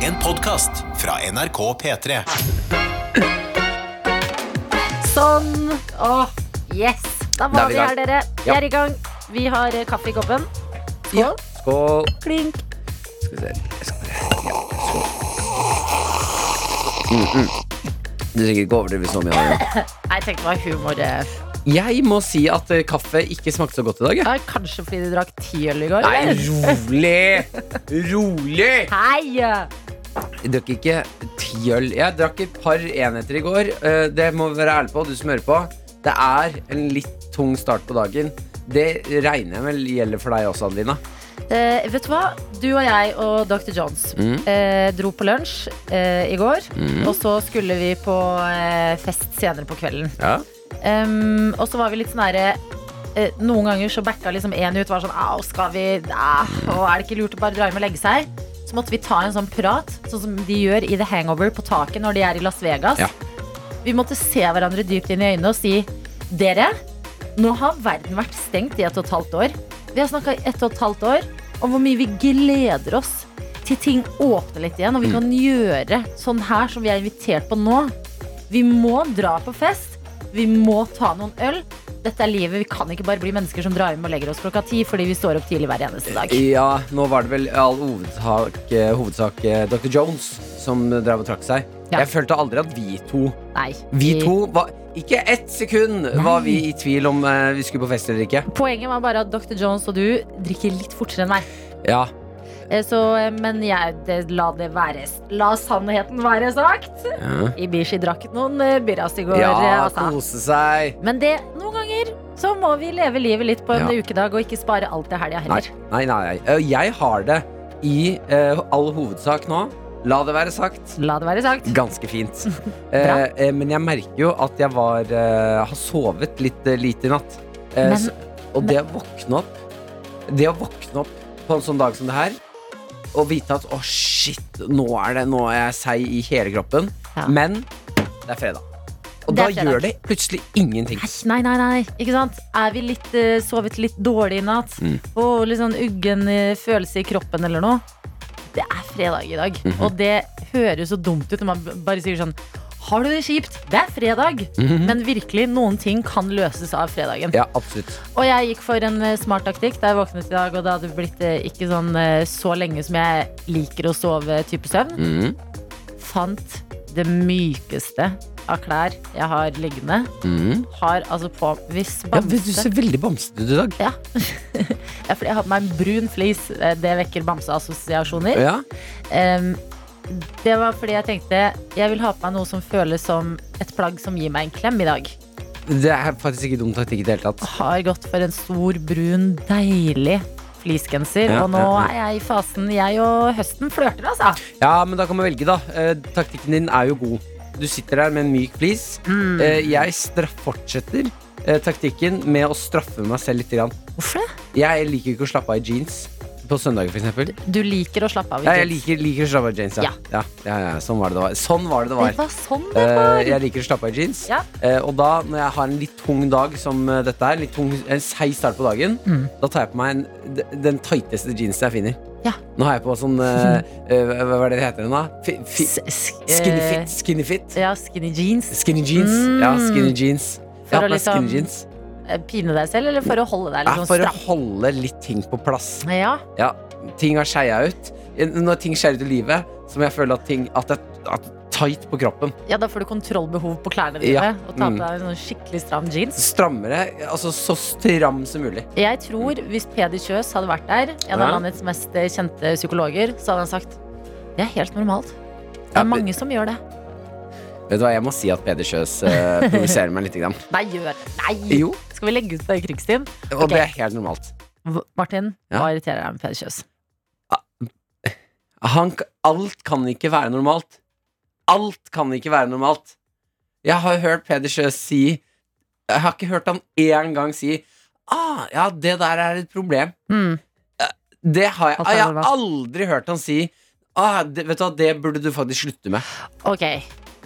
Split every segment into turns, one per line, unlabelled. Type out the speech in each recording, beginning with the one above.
En podkast fra NRK P3.
Sånn. Åh, yes. Da
Da
var
er vi
vi
i
her,
gang.
dere. Vi
Ja.
er i gang. Vi har eh, kaffe i koppen.
Ja. Skål.
Klink.
Skal vi se. Jeg skal bare- Ja, skål. Mm, mm. Du trenger ikke overdrive så mye. Maria.
Nei, Jeg tenkte det var humor. eh.
Jeg må si at eh, kaffe ikke smakte så godt i dag. jeg.
Ja, kanskje fordi du drakk ti øl i går?
Nei,
eller?
rolig! Rolig!
Hei!
Jeg drakk ikke ti øl. Jeg drakk et par enheter i går. Eh, Det må vi være ærlig på, du som hører på. Det er en litt tung start på dagen. Det regner jeg vel gjelder for deg også, Adelina.
Eh, vet du hva? Du og jeg og Dr. Johns
Mm.
eh, dro på lunsj eh, i går.
Mm.
Og så skulle vi på eh, fest senere på kvelden.
Ja.
Em, og så var vi litt sånn herre eh, Noen ganger så backa liksom en ut. Var sånn Au, skal vi ah, og Er det ikke lurt å bare dra hjem og legge seg? Så måtte vi ta en sånn prat, sånn som de gjør i The Hangover på taket når de er i Las Vegas.
Ja.
Vi måtte se hverandre dypt inn i øynene og si Dere, nå har verden vært stengt i ett og et halvt år. Vi har snakka i ett og et halvt år om hvor mye vi gleder oss til ting åpner litt igjen, og vi
Mm.
kan gjøre sånn her som vi er invitert på nå. Vi må dra på fest. Vi må ta noen øl. Dette er livet. Vi kan ikke bare bli mennesker som drar hjem og legger oss klokka ti fordi vi står opp tidlig hver eneste dag.
Ja, nå var det vel i all hovedsak, eh, hovedsak eh, Dr. Jones som drev og trakk seg.
Ja.
Jeg følte aldri at vi to
Nei.
Vi to var Ikke ett sekund var vi i tvil om eh, vi skulle på fest eller ikke.
Poenget var bare at Dr. Jones og du drikker litt fortere enn meg.
Ja,
Eh, Så, eh, men jeg, det, la det være La sannheten være sagt.
ja.
Ibishi drakk noen eh, birras i går. eh,
ja
altså.
kose seg.
Men det, noen ganger så må vi leve livet litt på en
Ja.
ukedag og ikke spare alt til helga
Nei,
heller.
nei, nei. nei. Eh, Jeg har det i eh, all hovedsak nå. La det være sagt.
La det være sagt.
Ganske fint. Eh, eh, men jeg merker jo at jeg var eh, har sovet litt eh, lite i natt. Eh,
Men-
så, og det å våkne opp Det å våkne opp på en sånn dag som det her og vite at å, shit, nå er det Nå er jeg seig i hele kroppen.
Ja.
Men det er fredag. Og
Det
da
er fredag.
gjør det plutselig ingenting.
Æsj, Nei, nei, nei. Ikke sant? Er vi litt, eh, sovet litt dårlig i natt?
Mm.
Og litt sånn uggen eh, følelse i kroppen eller noe? Det er fredag i dag.
Mhm.
Og det høres så dumt ut når man b- bare sier sånn Har du det kjipt? Det er fredag.
Mm.
Men virkelig, noen ting kan løses av fredagen.
Mhm. Ja, absolutt.
Og jeg gikk for en eh, smart taktikk da jeg våknet i dag, og det hadde blitt eh, ikke sånn eh, så lenge som jeg liker å sove type søvn.
Mhm,
Fant det mykeste av klær jeg har liggende.
mhm.
Har altså på Hvis
Ja, men du
bamse
ser veldig bamsete ut i dag.
ja. ja, fordi jeg har på meg en brun flis. Eh, Det vekker bamseassosiasjoner.
Ja.
Em, det var fordi jeg tenkte jeg vil ha på meg noe som føles som et plagg som gir meg en klem i dag.
Det er faktisk ikke dum taktikk i det hele tatt.
Har gått for en stor, brun, deilig fleecegenser.
Ja,
og nå
ja, ja.
er jeg i fasen jeg og høsten flørter, altså.
Ja, men da kan man velge, da. Eh, taktikken din er jo god. Du sitter der med en myk flis.
Mm.
Eh, jeg straff fortsetter eh, taktikken med å straffe meg selv litt. Grann.
Hvorfor det?
Jeg liker ikke å slappe av i jeans på søndager, f.eks.
Du liker å slappe av.
Ja, jeg
Jens.
liker, liker å slappe av i jeans, ja.
Ja.
Ja. Ja, ja, Sånn var det det var. Sånn var det det
Det
var.
var sånn det
Eh,
var.
jeg liker å slappe av i jeans.
Ja.
Eh, og da, når jeg har en litt tung dag som eh, dette her, litt tung, en seig start på dagen,
Mm.
da tar jeg på meg en, d- den tighteste jeansen jeg finner.
Ja.
Nå har jeg på sånn eh, eh, Hva hva er det det heter den, da? Fi, fi,
S- sk-
Skinny
eh,
fit. Skinny fit.
Ja, skinny jeans.
Skinny jeans.
Mm.
Ja, skinny jeans. Jeg
For
har
å
på meg
liksom-
skinny jeans.
Eh, Pine deg selv, eller for å holde deg
Ja,
litt sånn
for å
stram?
holde litt ting på plass.
Ja.
Ja, ting har skeia ut. Når ting skeier ut i livet, så må jeg føle at ting at det at det er tight på kroppen.
Ja, da får du kontrollbehov på klærne dine
Ja,
og ta på
mm.
deg en sånn skikkelig stram jeans.
Strammere, altså så stram som mulig.
Jeg tror hvis Peder Kjøs hadde vært der, en av
Ja.
landets mest eh, kjente psykologer, så hadde han sagt det er helt normalt. Det
Ja,
er
men-
mange som gjør det.
Vet du hva, Jeg må si at Peder Kjøs eh, provoserer meg litt. Grann.
Nei, gjør Nei!
Jo,
Skal vi legge ut på krigsstien?
og
Ok.
det er helt normalt.
V- Martin,
Ja.
hva irriterer deg med Peder Kjøs?
Han, k- alt kan ikke være normalt. Alt kan ikke være normalt. Jeg har hørt Peder Sjø si Jeg har ikke hørt han én gang si ah, ja, det der er et problem.
Mm.
Det har jeg,
Alt er
ah, jeg har
normalt.
aldri hørt han si. Ah, det, vet du hva, det burde du faktisk slutte med.
Ok.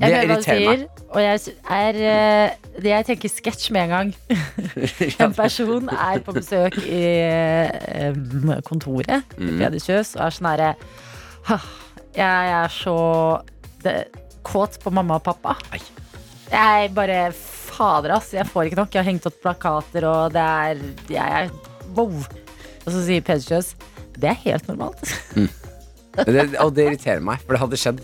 Det
Jeg hører hva du
irriterer meg.
sier, og jeg sy- er eh, det Jeg tenker sketsj med en gang. En person er på besøk i eh, kontoret til
Mm.
Peder Kjøs og er sånn herre «Hah, Jeg er så det, kåt på mamma og pappa.
Nei.
Jeg bare Fader, ass. Jeg får ikke nok. Jeg har hengt opp plakater, og det er Jeg er wow. Og så sier Peder Kjøs det er helt normalt.
Det, og det irriterer meg, for det hadde skjedd.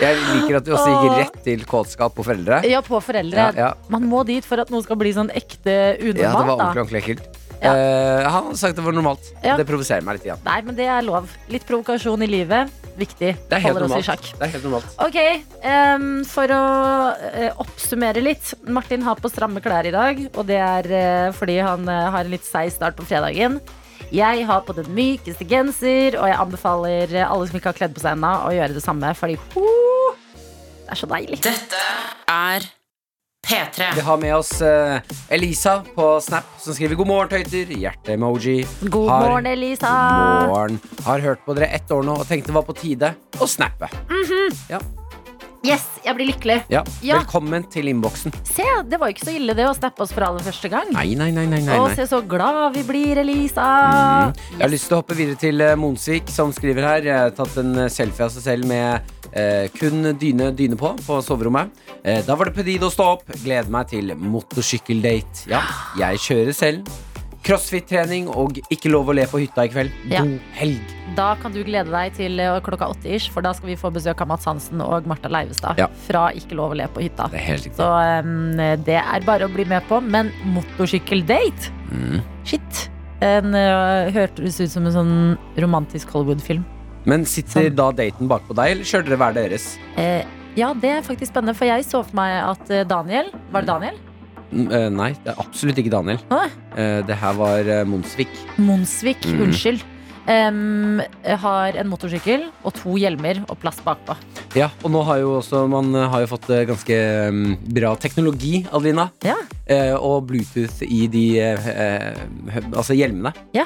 Jeg liker at du også gikk rett til kåtskap på foreldre.
Ja, på foreldre.
Ja, ja.
Man må dit for at noe skal bli sånn ekte
Ja, det var
unormalt.
ordentlig
da.
ordentlig ekkelt.
Ja.
Eh, han hadde sagt det var normalt.
Ja.
Det provoserer meg litt. Igjen.
Nei, men det er lov. Litt provokasjon i livet. Viktig.
Det er helt
Holder oss i
normalt.
sjakk.
Det er helt normalt.
Ok, em, for å eh, oppsummere litt. Martin har på stramme klær i dag, og det er eh, fordi han eh, har en litt seig start på fredagen. Jeg har på den mykeste genser, og jeg anbefaler eh, alle som ikke har kledd på seg ennå, å gjøre det samme, fordi ho, det er så deilig.
Dette er P3.
Vi har med oss eh, Elisa på Snap, som skriver 'God morgen, tøyter'. Hjerte-emoji.
God
Har-
morgen, Elisa.
God morgen. Har hørt på dere ett år nå og tenkte det var på tide å snappe.
Yes, jeg blir lykkelig.
Ja.
Mhm. Ja.
Velkommen til innboksen.
Se, det var jo ikke så ille det å snappe oss for aller første gang.
Nei, nei, nei, nei, Mhm. nei,
Å,
nei.
se så glad vi blir, Elisa.
Mm. Jeg har lyst til å hoppe videre til eh, Monsvik, som skriver her. eh, Tatt en eh, selfie av seg selv med eh, kun dyne, dyne på på soverommet. Eh, da var det på tide å stå opp. Gleder meg til motorsykkeldate. Ja, jeg kjører selv. Crossfit-trening og ikke lov å le på hytta i kveld.
Ja.
God helg.
Da kan du glede deg til eh, klokka åtte ish, for da skal vi få besøk av Mats Hansen og Marta Leivestad
Ja.
fra Ikke lov å le på hytta.
Det er helt
Så
riktig.
em, det er bare å bli med på. Men motorsykkeldate?
Mm.
Shit. En, eh, hørtes ut som en sånn romantisk Hollywood-film.
Men sitter
Sånn.
da daten bakpå deg, eller kjører dere hver deres?
Eh, ja, det er faktisk spennende, for jeg så for meg at eh, Daniel Var det Daniel?
Mm, eh, nei, det er absolutt ikke Daniel.
Hæ?
Eh, det her var eh, Monsvik.
Monsvik,
Mm.
unnskyld. em, har en motorsykkel og to hjelmer og plass bakpå.
Ja, og nå har jo også man eh, har jo fått eh, ganske mm, bra teknologi, Adelina.
Ja.
Eh, og Bluetooth i de eh, eh, hø- altså hjelmene.
Ja.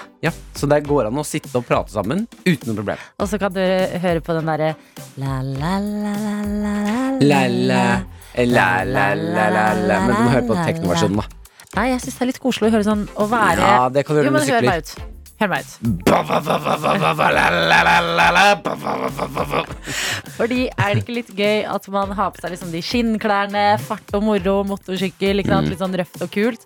Så det går an å sitte og prate sammen uten noe problem.
Og så kan du høre på den derre la la la la la
La, la, la, la, la, la, la. Men du må høre på teknoversjonen, da.
Nei, jeg syns det er litt koselig å høre sånn å være
Ja, det kan du
Jo,
gjøre
men
når du
hør
sykler.
meg ut. Hør meg ut. Fordi er det ikke litt gøy at man har på seg liksom de skinnklærne, fart og moro, motorsykkel, ikke
Mm.
sant? litt sånn røft og kult.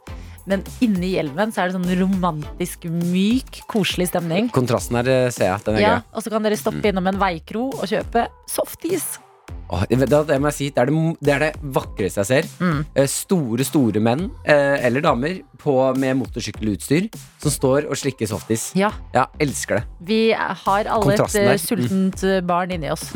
Men inni hjelmen så er det sånn romantisk, myk, koselig stemning.
Kontrasten her eh, ser jeg. Den er
Ja,
gøy. Mm.
og så kan dere stoppe innom en veikro og kjøpe softis.
Åh, det, det, det må jeg si, det er det, mo- det er det vakreste jeg ser.
Mm.
Eh, Store, store menn eh, eller damer på, med motorsykkelutstyr som står og slikker softis.
Ja,
Ja, elsker det.
Vi har alle et
Kontrasten
eh,
der. Mm. Eh.
sultent eh, barn inni oss.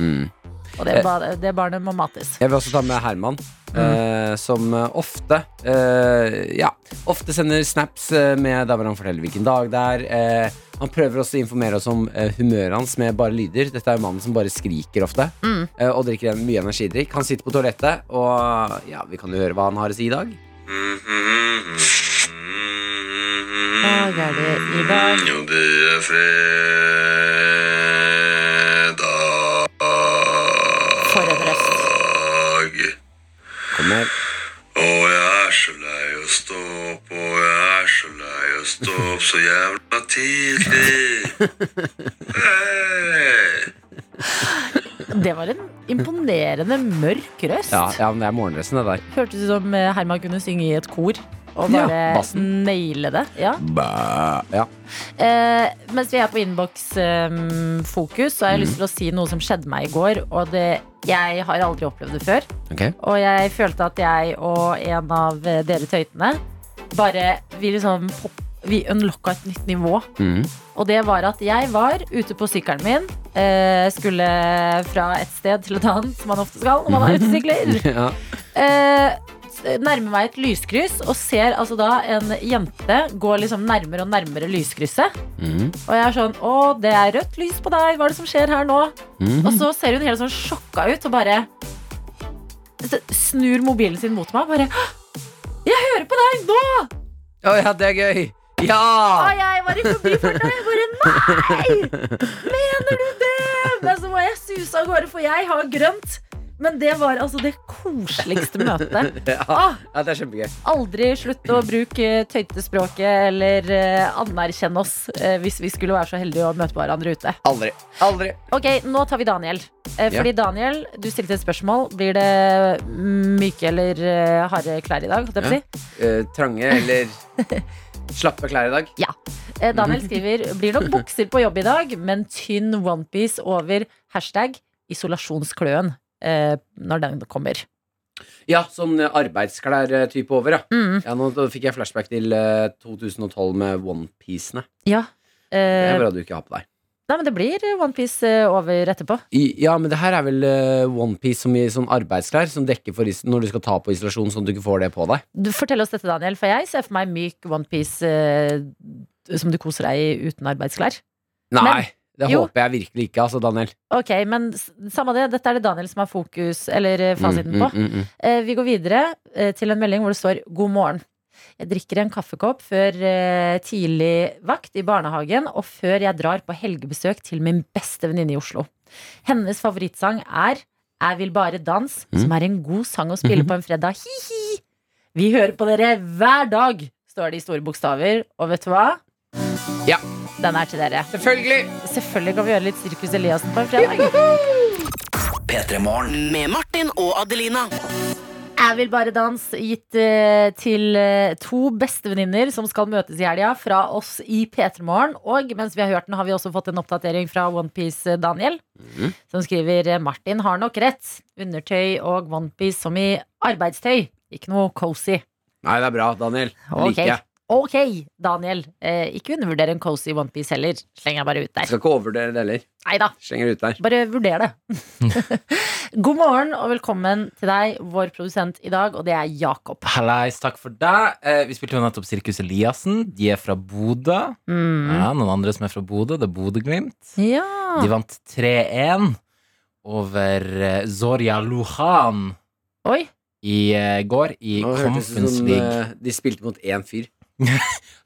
Og det, ba- det barnet må mates.
Jeg vil også ta med Herman, eh, som eh, ofte eh, Ja, ofte sender snaps eh, med der hvor han forteller hvilken dag det er. Eh, han prøver også å informere oss om eh, humøret hans med bare lyder. Dette er jo mannen som bare skriker ofte eh, og drikker en- mye energidrikk. Han sitter på toalettet, og ja, vi kan jo høre hva han har å si i dag.
Dag er det i dag.
Jo, det er fredag
For en røst.
Kommer.
Og jeg er så lei å stå opp, og jeg er så lei å stå opp så jævla tidlig. Hey.
Det var en imponerende mørk røst.
Ja, ja, men det er morgenresten, det der.
Hørtes ut som eh, Herman kunne synge i et kor. Og
Ja,
bare
bassen.
naile det. Ja.
Ja.
Eh, mens vi er på innboksfokus, så har jeg
Mm.
lyst til å si noe som skjedde meg i går. Og det, jeg har aldri opplevd det før.
Ok.
Og jeg følte at jeg og en av eh, dere tøytene bare Vi liksom pop, Vi unlocka et nytt nivå.
Mhm.
Og det var at jeg var ute på sykkelen min. eh, Skulle fra et sted til et annet, som man ofte skal når man er utesykler.
ja.
Eh, s- Nærmer meg et lyskryss og ser altså da en jente gå liksom nærmere og nærmere lyskrysset.
Mhm.
Og jeg er sånn Å, det er rødt lys på deg. Hva er det som skjer her nå?
Mhm.
Og så ser hun helt sånn sjokka ut og bare s- snur mobilen sin mot meg. og Bare «Hå! Jeg hører på deg nå!
Å ja, det er gøy! Ja!
Og jeg var i forbi for deg. Jeg bare nei! Mener du det? Men så var jeg susa av gårde, for jeg har grønt. Men det var altså det koseligste møte.
Ja,
Ah,
ja, det er kjempegøy.
aldri slutte å bruke tøytespråket eller eh, anerkjenne oss eh, hvis vi skulle være så heldige å møte hverandre ute.
Aldri. Aldri.
Ok, nå tar vi Daniel. Eh,
Ja.
Fordi Daniel, du stilte et spørsmål. Blir det mm, myke eller eh, harde klær i dag? holdt jeg på å
Ja.
si?
Eh, trange eller slappe klær i dag.
Eh,
Mhm.
Daniel skriver blir nok bukser på jobb i dag, men tynn onepiece over hashtag isolasjonskløen eh, når den kommer.
Ja, sånn eh, arbeidsklær-type over, ja.
Mm.
ja. Nå da fikk jeg flashback til eh, 2012 med onepiecene.
Ja.
Det
Eh,
er bra du ikke har på deg.
nei, men det blir onepiece eh, over etterpå.
I, ja, men det her er vel eh, onepiece som i sånn arbeidsklær som dekker for is når du skal ta på isolasjon, sånn at du ikke får det på deg.
Du, fortell oss dette, Daniel, for jeg ser for meg myk onepiece eh, som du koser deg i uten arbeidsklær.
Nei,
Men-
det
jo.
håper jeg virkelig ikke, altså, Daniel.
Ok, men s- samme det. Dette er det Daniel som har fokus, eller eh, fasiten på.
Mm, mm, mm.
Eh, Vi går videre eh, til en melding hvor det står 'God morgen'. Jeg drikker en kaffekopp før eh, tidlig vakt i barnehagen og før jeg drar på helgebesøk til min beste venninne i Oslo. Hennes favorittsang er 'Jeg vil bare dans',
Mm. Mhm.
som er en god sang å spille på en fredag. Hi-hi! Vi hører på dere hver dag, står det i store bokstaver. Og vet du hva?
Ja.
Den er til dere.
Selvfølgelig!
Selvfølgelig kan vi gjøre litt Sirkus Eliassen på en fredag.
Med Martin og Adelina.
Jeg vil bare dans, gitt eh, til eh, to bestevenninner som skal møtes i helga, fra oss i P3 Morgen. Og mens vi har hørt den, har vi også fått en oppdatering fra Onepiece-Daniel,
Mhm.
som skriver eh, Martin har nok rett. Undertøy og onepiece som i arbeidstøy. Ikke noe cozy.
Nei, det er bra, Daniel. Det
Ok.
Liker jeg.
Ok, Daniel. Eh, ikke undervurder en cozy onepiece heller. Slenger jeg bare ut der.
Skal ikke overvurdere det heller.
Nei da.
Slenger det ut der.
Bare vurder det. God morgen og velkommen til deg, vår produsent i dag, og det er Jakob.
Hallais, takk for deg. Eh, vi spilte jo nettopp Sirkus Eliassen. De er fra Bodø.
Mm.
Ja, noen andre som er fra Bodø. Det er Bodø-Glimt.
Ja.
Ah.
De vant 3-1 over eh, Zorya Luhan
Oi.
i eh, går i
Nå hørtes det ut
Conference
som
League.
eh, de spilte mot én fyr.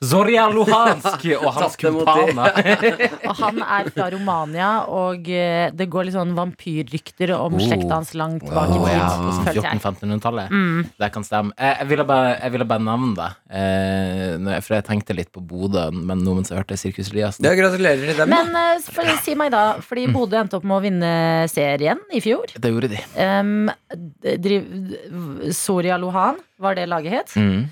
Zorya Luhansk og hans
Tapte mot de.
kumpaner.
Og han er fra Romania, og eh, det går litt sånn vampyrrykter om
Oh. Ah.
slekta hans langt tilbake. i
Å,
tid,
ja.
følte jeg.
1400-1500-tallet.
Mm.
Det kan stemme. Eh, Jeg ville bare, jeg ville bare nevne det, eh, når jeg- for jeg tenkte litt på Bodø, men nå mens jeg hørte Sirkus Eliassen
Ja, gratulerer til dem. da.
Men eh, for, si meg da,
Mm.
fordi Bodø endte opp med å vinne serien i fjor.
Det gjorde de.
Um, d- driv- Soria Lohan var det laget het.
Mm.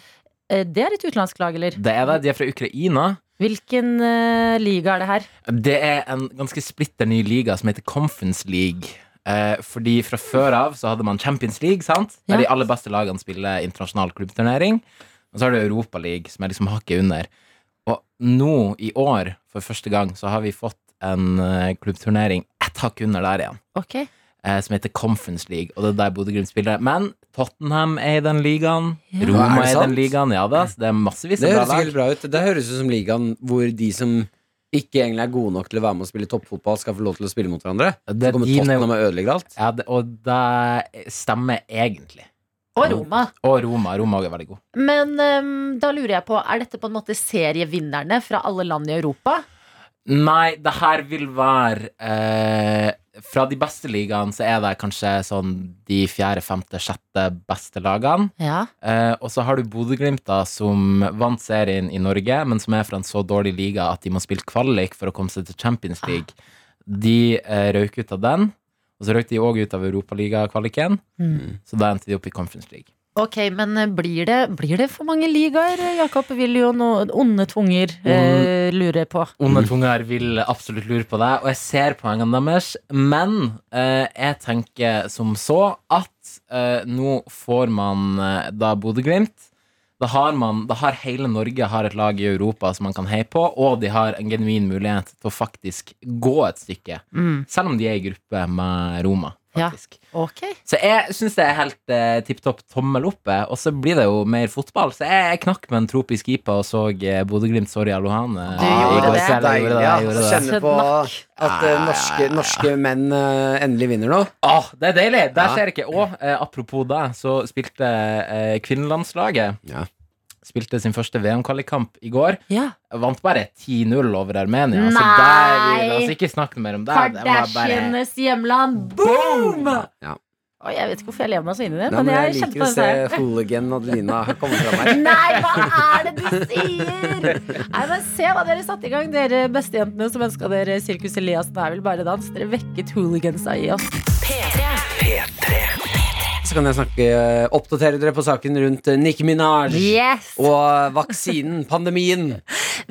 Eh, Det er et utenlandsk lag, eller?
Det er det. De er fra Ukraina.
Hvilken eh, liga er det her?
Det er en ganske splitter ny liga som heter Conference League. Eh, fordi fra før av så hadde man Champions League, sant? der
Ja.
de aller beste lagene spiller internasjonal klubbturnering. Og så har du Europa League, som er liksom hakket under. Og nå, i år, for første gang, så har vi fått en eh, klubbturnering ett hakk under der igjen.
Ok,
Eh, som heter Conference League, og det er der Bodø-Glimt spiller. Men Tottenham er i den ligaen.
Ja.
Roma
Er det
er, i
sant?
den ligaen. Ja da, så det er massevis
Det høres
av bra
ikke
lag.
helt bra ut. Det høres ut som ligaen hvor de som ikke egentlig er gode nok til å være med og spille toppfotball, skal få lov til å spille mot hverandre.
Det
Så
er
kommer
dine-
Tottenham og ødelegger alt.
ja, det, og det stemmer egentlig.
Og Roma.
Og Roma. Roma er veldig god.
Men ehm, da lurer jeg på, er dette på en måte serievinnerne fra alle land i Europa?
Nei, det her vil være eh, Fra de beste ligaene så er det kanskje sånn de fjerde, femte, sjette beste lagene.
Ja.
Eh, og så har du Bodø-Glimt, da, som vant serien i Norge, men som er fra en så dårlig liga at de må spille kvalik for å komme seg til Champions League. De eh, røyk ut av den, og så røyk de òg ut av Europaliga-kvaliken.
Mm.
Så da endte de opp i Conference League.
Ok, men eh, blir det, blir det for mange ligaer? eh, Jakob vil jo noe onde tunger eh, lure på.
Onde tunger vil absolutt lure på det, og jeg ser poengene deres. Men eh, jeg tenker som så at eh, nå får man eh, da Bodø-Glimt. Da har, man, da har hele Norge har et lag i Europa som man kan heie på, og de har en genuin mulighet til å faktisk gå et stykke.
Mm.
Selv om de er i gruppe med Roma,
Ja.
faktisk.
Ok.
Så jeg syns det er helt eh, tipp topp tommel oppe, og så blir det jo mer fotball. Så jeg, jeg knakk med en tropisk IPA og så eh, Bodø-Glimt eh, Soria Lohane.
Du gjorde det.
Jeg gjorde det. Jeg gjorde det.
Kjenn-
Kjenne på at eh, norske, norske menn eh, endelig vinner nå.
Åh, det er deilig! Der
Ja.
skjer det ikke. Og eh, apropos det, så spilte eh, kvinnelandslaget
Ja.
Spilte sin første VM-kvalikkamp i går.
Ja.
Vant bare 10-0 over Armenia. Så
Nei!
altså der, vi- la oss ikke snakke mer om det. Det var bare
Kardashianes hjemland, boom!
Ja.
Oi, jeg vet ikke hvorfor jeg lever meg så inn i det,
Nei,
men,
men
jeg,
jeg
kjente
liker
på
å
det
se
der.
hooligan Adelina komme fra meg.
Nei, hva er det du sier?! Nei, men Se hva dere satte i gang, dere bestejentene som ønska dere Sirkus Eliassen er vel bare dans. Dere vekket hooligansa i oss.
Så kan jeg snakke, eh, oppdatere dere på saken rundt eh, Nicki Minaj
Yes!
og eh, vaksinen, pandemien.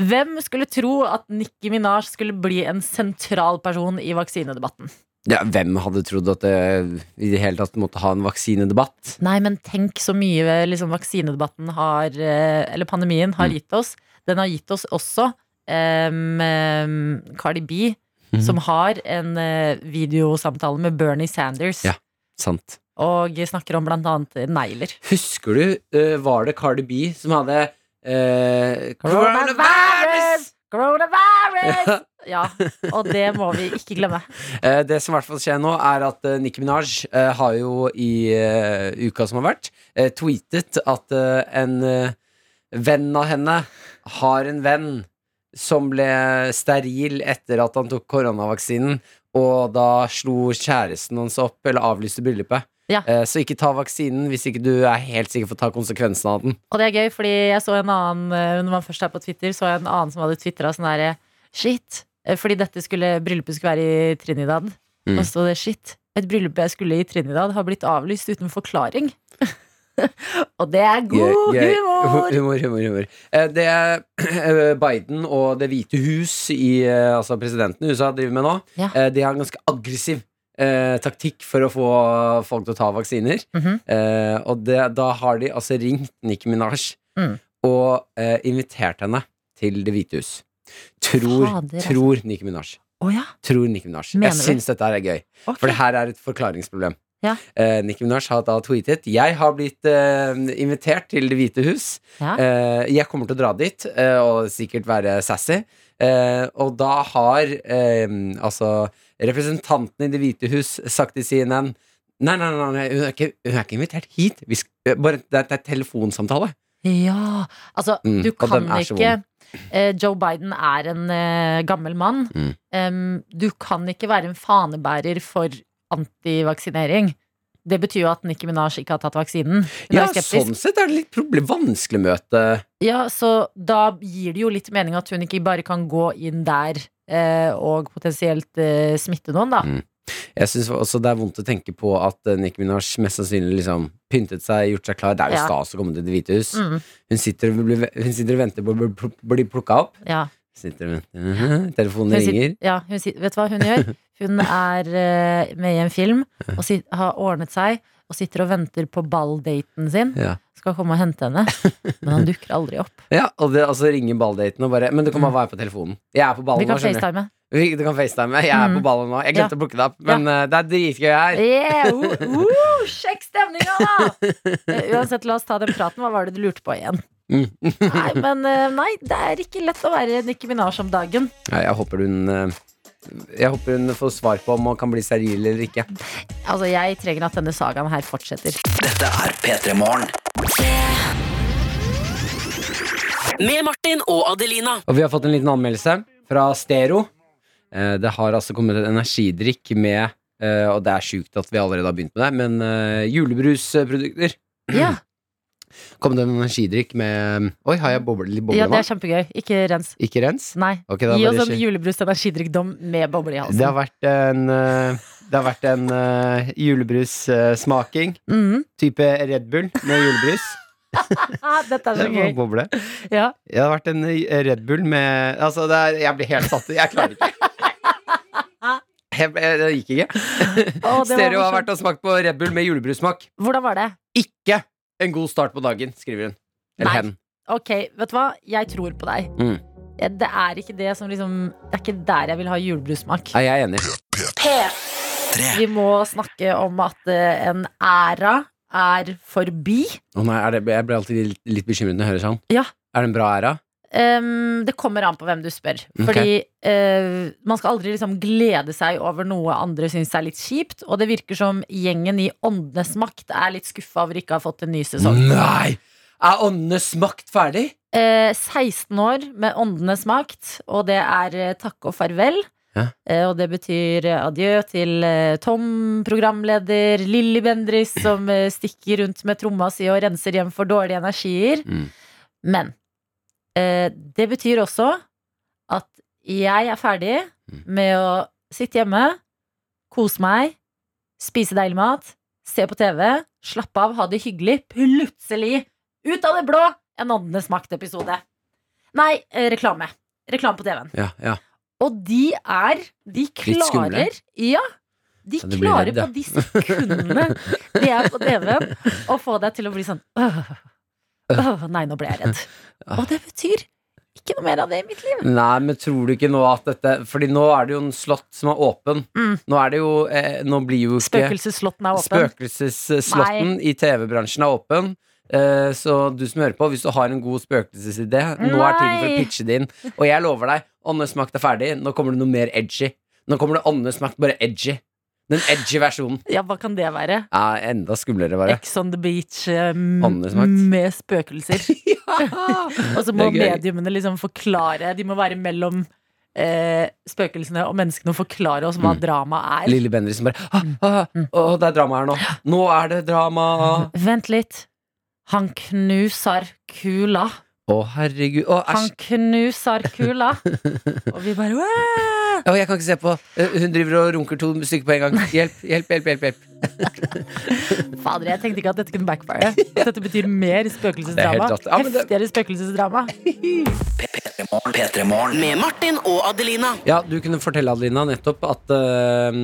Hvem skulle tro at Nikki Minaj skulle bli en sentral person i vaksinedebatten?
Ja, hvem hadde trodd at det i det hele tatt måtte ha en vaksinedebatt?
Nei, men tenk så mye liksom, vaksinedebatten har eh, Eller pandemien har gitt oss. Den har gitt oss også em, em, Cardi B, som har en eh, videosamtale med Bernie Sanders.
Ja. Sant.
Og snakker om blant annet negler.
Husker du, eh, var det Cardi B som hadde eh, Coronavirus!
Coronavirus! Ja, og det må vi ikke glemme.
Eh, det som i hvert fall skjer nå, er at eh, Nicki Minaj eh, har jo i eh, uka som har vært, eh, tweetet at eh, en eh, venn av henne har en venn som ble steril etter at han tok koronavaksinen, og da slo kjæresten hans opp, eller avlyste bryllupet.
Ja.
Eh, Så ikke ta vaksinen hvis ikke du er helt sikker på å ta konsekvensen av den.
Og det er gøy, fordi jeg så en annen eh, Når man først er på Twitter, så jeg en annen som hadde twitra sånn derre Shit. Eh, Fordi dette skulle, bryllupet skulle være i Trinidad.
Mm.
Og så sto det shit. Et bryllup jeg skulle i Trinidad, har blitt avlyst uten forklaring. og det er god
Gøy, gøy.
humor!
Humor, humor, humor. Eh, Det eh, Biden og Det hvite hus, i, eh, altså presidenten i USA, driver med nå,
Ja.
eh, de har en ganske aggressiv eh, taktikk for å få folk til å ta vaksiner.
Mhm.
Eh, og det, da har de altså ringt Nicki Minaj
Mm.
og eh, invitert henne til Det hvite hus. Tror,
Fader, altså.
tror Nicki Minaj.
Å ja.
Tror Nicki Minaj.
Mener
Jeg
du?
syns dette her er gøy.
ok.
For det her er et forklaringsproblem.
Ja.
Eh, Nicki Minaj har da tweetet Jeg har blitt eh, invitert til Det hvite hus.
Ja.
Eh, jeg kommer til å dra dit eh, og sikkert være sassy. Eh, og da har eh, altså representanten i Det hvite hus sagt til CNN Nei, nei, nei, nei hun, er ikke, hun er ikke invitert hit. Vi sk eh, bare, det, er, det er telefonsamtale.
Ja, altså
Mm,
du
og
kan
den er så
ikke eh, Joe Biden er en eh, gammel mann.
Mm.
Em, du kan ikke være en fanebærer for antivaksinering. Det betyr jo at Nicki Minaj ikke har tatt vaksinen. Hun er
Ja,
skeptisk.
sånn sett er det litt problem, vanskelig å møte
Ja, så da gir det jo litt mening at hun ikke bare kan gå inn der eh, og potensielt eh, smitte noen, da.
Mm. Jeg syns også det er vondt å tenke på at eh, Nicki Minaj mest sannsynlig liksom pyntet seg, gjort seg klar. Det er jo
Ja.
stas å komme til Det hvite hus.
Mm,
Hun, sitter, og blir- hun sitter og venter på å bli- bli plukka opp.
ja.
Sitter og venter. Mhm. Telefonen
Hun sit-
ringer.
ja, hun sit- vet du hva hun gjør? Hun er eh, med i en film og sit, har ordnet seg og sitter og venter på balldaten sin.
Ja.
Skal komme og hente henne, men han dukker aldri opp.
Ja, og, det, og så ringer balldaten og bare Men du kan bare være på telefonen. Jeg er på
Mm. Vi
ballen nå,
kan
skjønner du.
facetime.
Vi- Du kan facetime. Jeg er
Mm.
på ballen nå. Jeg
Ja.
glemte å plukke det opp, men eh, det er dritgøy her.
Yeah, uh, uh, sjekk stemninga, da! Eh, Uansett, la oss ta den praten. Hva var det du lurte på igjen?
Mm.
Nei, men eh, nei, det er ikke lett å være Nicki Minaj om dagen.
Nei, Jeg håper hun eh, Jeg håper hun får svar på om hun kan bli steril eller ikke.
Altså, jeg trenger at denne sagaen her fortsetter.
Med Martin og Adelina.
Og vi har fått en liten anmeldelse fra Stero. Eh, Det har altså kommet en energidrikk med eh, Og det er sjukt at vi allerede har begynt med det, men eh, julebrusprodukter.
Ja,
Kom det en energidrikk med Oi, har jeg boble, litt
ja det er
boblevann?
kjempegøy. Ikke rens.
Ikke rens?
Nei.
Ok, da
Gi
var
oss
det
en
sju-
julebrus energidrikkdom med boble i
Det har
halsen.
vært en, eh, det har vært en eh, julebrussmaking.
Mhm.
Type Red Bull med julebrus.
Ah, dette er så
Det var en
gøy.
boble.
Ja.
Det har vært en eh, Red Bull med Altså, det er, jeg blir helt satt ut. Jeg klarer ikke. Jeg, ble- det gikk ikke.
Å, det var
Stereo har
morsomt.
vært og smakt på Red Bull med julebrussmak.
Hvordan var det?
Ikke en god start på dagen, skriver hun. Eller
Nei.
hen.
Ok, vet du hva? Jeg tror på deg.
Mm.
Ja, Det er ikke det som liksom Det er ikke der jeg vil ha julebrussmak.
Nei, jeg er enig.
Vi må snakke om at eh, en æra er forbi.
Å nei, er det, jeg blir alltid litt, litt bekymret når jeg hører sånn.
Ja.
Er det en bra æra?
Ehm, det kommer an på hvem du spør. Fordi eh, man skal aldri liksom glede seg over noe andre syns er litt kjipt. Og det virker som gjengen i Åndenes makt er litt skuffa over ikke å ha fått en ny sesong.
Nei! Er åndenes makt ferdig?
Eh, 16 år med Åndenes makt, og det er eh, takk og farvel.
Ja.
Eh, Og det betyr eh, adjø til eh, Tom, programleder, Lilly Bendriss, som eh, stikker rundt med tromma si og renser hjem for dårlige energier.
Mm.
Men eh, det betyr også at jeg er ferdig
Mm.
med å sitte hjemme, kose meg, spise deilig mat, se på TV, slappe av, ha det hyggelig. Plutselig, ut av det blå, en Åndenes makt-episode. Nei, eh, reklame. Reklame på TV-en.
Ja, ja.
Og de er De
skumle.
klarer Ja, de
Ja, du blir
klarer
redd, ja.
på de sekundene de er på TV-en, å få deg til å bli sånn Åh, åh, nei, nå ble jeg redd. Og det betyr ikke noe mer av det i mitt liv.
Nei, men tror du ikke nå at dette Fordi nå er det jo en slott som er åpen.
Mm.
Nå er det jo eh, Nå blir jo ikke
Spøkelsesslåtten er åpen.
Spøkelsesslotten i TV-bransjen er åpen. Eh, Så du som hører på, hvis du har en god spøkelsesidé, nå er tiden for å
Nei.
pitche det inn. Og jeg lover deg, Åndenes makt er ferdig. Nå kommer det noe mer edgy. Nå kommer det Åndenes makt, bare edgy. Den edgy versjonen.
Ja, hva kan det være?
Ja, enda skumlere, bare.
Ex on the beach eh, m-
Åndenes makt.
med spøkelser. og så må
Det er gøy.
mediumene liksom forklare De må være mellom eh, spøkelsene og menneskene og forklare oss hva
Mm.
dramaet er.
Lille Bendriss som bare ah, ah,
Mm.
Å, det er drama her nå. Nå er det drama. Å,
Vent litt. Han knuser kula.
herregud. Å,
Han
æsj.
knuser kula. Og vi bare «Wow!»
Å, jeg kan ikke se på. Eh, Hun driver og runker to stykker på en gang. Hjelp, hjelp, hjelp. hjelp, hjelp.
Fader, jeg tenkte ikke at dette kunne backfire. Dette betyr mer
Det er helt
spøkelsesdrama.
rått. Ja, men det-
Heftigere spøkelsesdrama.
Med Martin og Adelina.
Ja, du kunne fortelle Adelina nettopp at øh,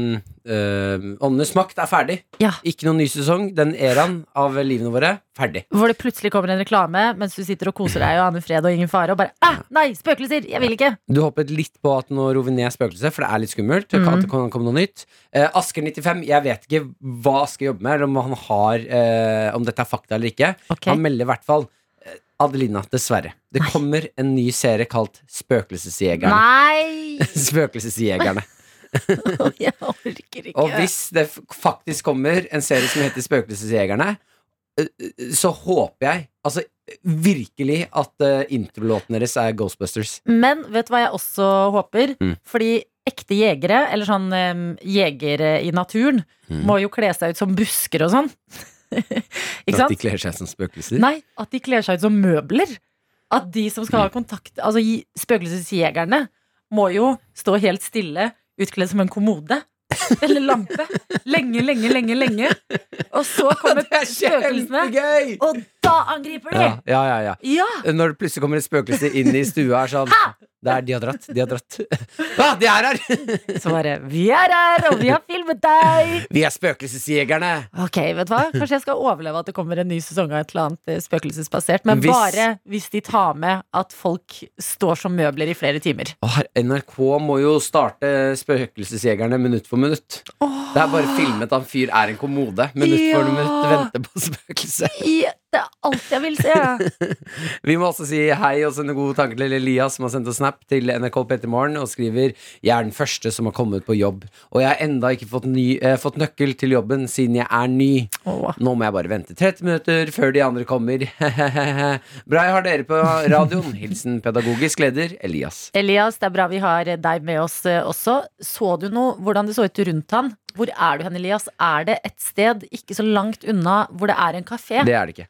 øh, Åndenes makt er ferdig.
Ja.
Ikke noen ny sesong. Den eraen av livene våre ferdig.
Hvor det plutselig kommer en reklame mens du sitter og koser deg og aner fred og ingen fare, og bare ah, nei, spøkelser! Jeg vil ikke!
Du hoppet litt på at nå roer vi ned spøkelset, for det er litt skummelt. Mm.
Mhm.
At det kan komme noe nytt eh, Asker 95, jeg vet ikke hva Asker jobber med, eller om han har eh, Om dette er fakta eller ikke.
Ok.
Han melder i hvert fall eh, Adelina, dessverre. Det kommer en ny serie kalt Spøkelsesjegerne.
Nei!
Spøkelsesjegerne.
Jeg orker
Og
ikke.
hvis det f- faktisk kommer en serie som heter Spøkelsesjegerne, ø- ø- så håper jeg altså virkelig at ø, introlåten deres er Ghostbusters.
Men vet du hva jeg også håper?
Mm.
Fordi ekte jegere, eller sånn um, jegere i naturen,
Mm.
må jo kle seg ut som busker og sånn. ikke
At
sant?
de kler seg som spøkelser.
Nei, at de kler seg ut som møbler. At de som skal ha kontakt Altså gi- spøkelsesjegerne må jo stå helt stille, utkledd som en kommode. Eller lampe. Lenge, lenge, lenge, lenge. Og så kommer
Det er
spøkelsene,
kjempegøy!
og da angriper de!
Ja, ja, ja, ja.
Ja!
Når det plutselig kommer et spøkelse inn i stua, er sånn Det er de har dratt, de har dratt. Ah, de er her!
Så bare Vi er her, og vi har filmet deg!
Vi er spøkelsesjegerne!
Ok, vet du hva? Kanskje jeg skal overleve at det kommer en ny sesong av et eller annet eh, spøkelsesbasert. Men
Hvis-
bare hvis de tar med at folk står som møbler i flere timer.
Å, her- NRK må jo starte Spøkelsesjegerne minutt for minutt. Det er bare filmet at en fyr er en kommode. Minutt
Ja.
for minutt venter på spøkelse.
I, det er alt jeg vil se!
Vi må også si hei og sende gode tanker til Elias, som har sendt oss snap til NRK Pettermorgen og skriver 'Jeg er den første som har kommet på jobb', og jeg har enda ikke fått, ny, eh, fått nøkkel til jobben siden jeg er ny.
Åh.
Nå må jeg bare vente 30 minutter før de andre kommer. Bra jeg har dere på radioen. Hilsen pedagogisk leder Elias.
Elias, det er bra vi har deg med oss eh, også. Så du noe, hvordan det så ut rundt han? Hvor er du hen, Elias? Er det et sted ikke så langt unna hvor det er en kafé?
Det er det ikke.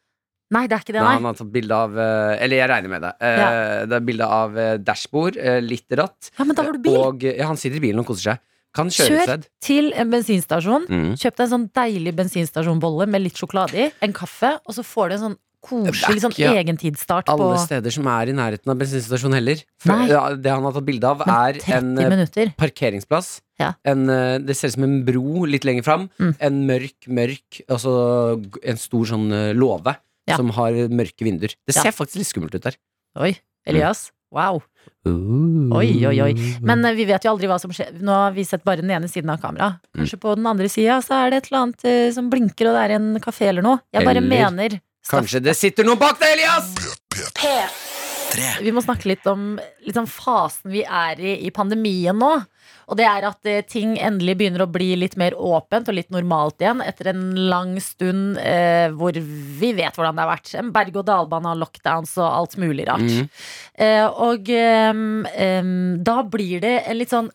Nei, det er ikke det,
Nei, han
nei.
har tatt bilde av eh, Eller jeg regner med det. Eh,
Ja.
Det er bilde av eh, dashbord, eh, litt ratt.
Ja, men da har du bil.
Og eh, ja, han sitter i bilen og koser seg. Kan kjøre
Kjør.
seg.
Til en bensinstasjon.
Mm.
Kjøp deg en sånn deilig bensinstasjonbolle med litt sjokolade i, en kaffe, og så får du en sånn koselig sånn
Ja.
egentidsstart på
Alle steder som er i nærheten av bensinstasjon heller.
Nei.
For, ja, det han har tatt bilde av, er
30
en eh,
minutter.
parkeringsplass.
Ja.
En, eh, det ser ut som en bro litt lenger fram.
Mm.
En mørk, mørk Altså g- en stor sånn eh, låve
Ja.
som har mørke vinduer. Det
Ja.
ser faktisk litt skummelt ut der.
Oi, Elias. Wow. Oi, oi, oi. Men eh, vi vet jo aldri hva som skjer. Nå har vi sett bare den ene siden av kameraet.
Mm.
Kanskje på den andre sida så er det et eller annet eh, som blinker, og det er en kafé eller noe. Jeg bare
Eller
mener Staff,
Kanskje det sitter noen bak deg, Elias!
Vi må snakke litt om litt om fasen vi er i i pandemien nå. Og det er at eh, ting endelig begynner å bli litt mer åpent og litt normalt igjen etter en lang stund eh, hvor vi vet hvordan det har vært. En berg-og-dal-bane av lockdowns og alt mulig rart. Eh, og ehm, ehm, da blir det en litt sånn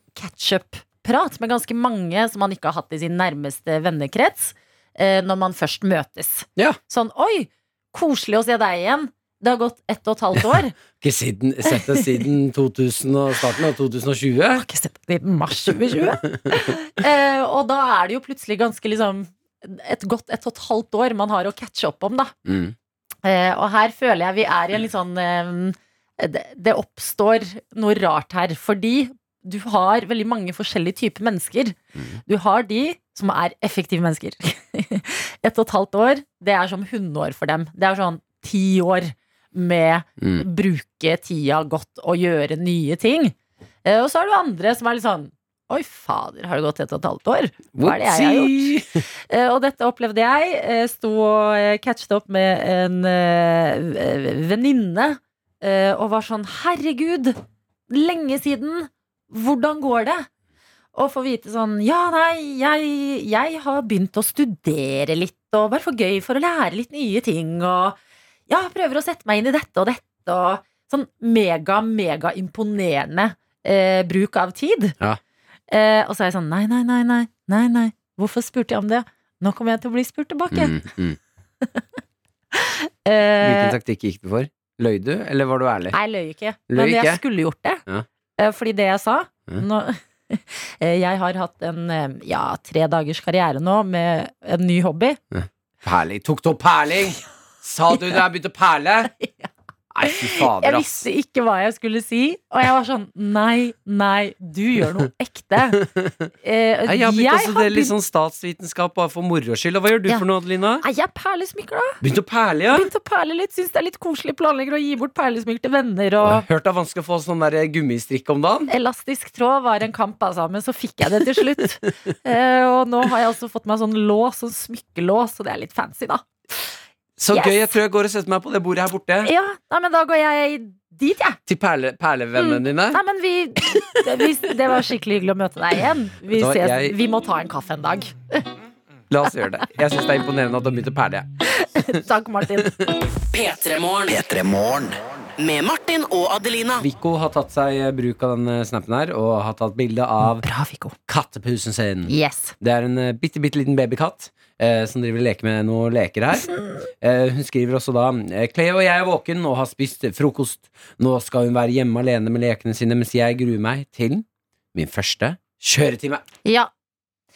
catch-up-prat med ganske mange som man ikke har hatt i sin nærmeste vennekrets, eh, når man først møtes.
Ja.
Sånn 'oi, koselig å se deg igjen'. Det har gått ett og et halvt år.
Ikke siden, sett det siden 2000 og starten av 2020.
har ikke sett deg siden mars 2020. eh, og da er det jo plutselig ganske liksom et godt ett og et halvt år man har å catche opp om, da.
Mm.
Eh, og her føler jeg vi er i en litt sånn eh, det, det oppstår noe rart her, fordi du har veldig mange forskjellige typer mennesker. Du har de som er effektive mennesker. Ett og et halvt år, det er som hundeår for dem. Det er sånn ti år med
Mm.
bruke tida godt og gjøre nye ting. Eh, og så har du andre som er litt sånn Oi, fader, har det gått ett og et halvt år? Hva er det jeg har gjort? Eh, Og dette opplevde jeg. Eh, Sto og eh, catchet opp med en eh, v- venninne eh, og var sånn Herregud, lenge siden! Hvordan går det? Og få vite sånn Ja, nei, jeg, jeg har begynt å studere litt, og bare for gøy for å lære litt nye ting, og ja, prøver å sette meg inn i dette og dette, og sånn mega, mega imponerende eh, bruk av tid.
Ja.
Eh, og så er jeg sånn nei, nei, nei, nei, nei, nei. Hvorfor spurte jeg om det? Nå kommer jeg til å bli spurt tilbake.
Mm, mm.
Eh,
Hvilken taktikk gikk du for? Løy du, eller var du ærlig?
Nei, jeg løy ikke.
Løy
Men jeg
ikke?
skulle gjort det.
Ja.
Eh, Fordi det jeg sa
Ja.
nå, Eh, Jeg har hatt en eh, ja, tre dagers karriere nå med en ny hobby.
Perling. Tok du opp perling? Sa du da jeg begynte å perle? Nei, fy fader,
Jeg
ass.
visste ikke hva jeg skulle si, og jeg var sånn Nei, nei, du gjør noe ekte. Eh,
Nei, Jeg har begynt å studere litt
begynt-
sånn statsvitenskap bare for moro skyld. Og hva gjør du
Ja. Ah.
for noe, Adelina?
Nei, jeg perlesmykker, da.
Begynte å perle, ja?
Begynte å perle litt. Syns det er litt koselig. Planlegger å gi bort perlesmykker til venner.
Jeg
Og
har hørt det er vanskelig å få sånn der gummistrikk om dagen.
Elastisk tråd var en kamp, altså, men så fikk jeg det til slutt. eh, og nå har jeg også fått meg sånn lås, sånn smykkelås, og det er litt fancy, da.
Så
Yes.
gøy. Jeg tror jeg går og setter meg på det bordet her borte.
Ja, nei, men da går jeg dit, jeg.
Til perle, perlevennene dine.
Nei, men vi, det, vi Det var skikkelig hyggelig å møte deg igjen. Vi,
Vet du hva,
ses,
jeg-
vi må ta en kaffe en dag.
La oss gjøre det. Jeg syns det er imponerende at du har begynt å perle. jeg.
Takk, Martin.
P3-morgen. Med Martin og Adelina.
Viggo har tatt seg eh, bruk av den eh, snappen her, og har tatt bilde av
Bra, Viggo.
kattepusen sin.
Yes.
Det er en eh, bitte, bitte liten babykatt eh, som driver og leker med noen leker her. Eh, hun skriver også da eh, Clay og jeg er våken og har spist eh, frokost. Nå skal hun være hjemme alene med lekene sine mens jeg gruer meg til min første kjøretime.
Ja,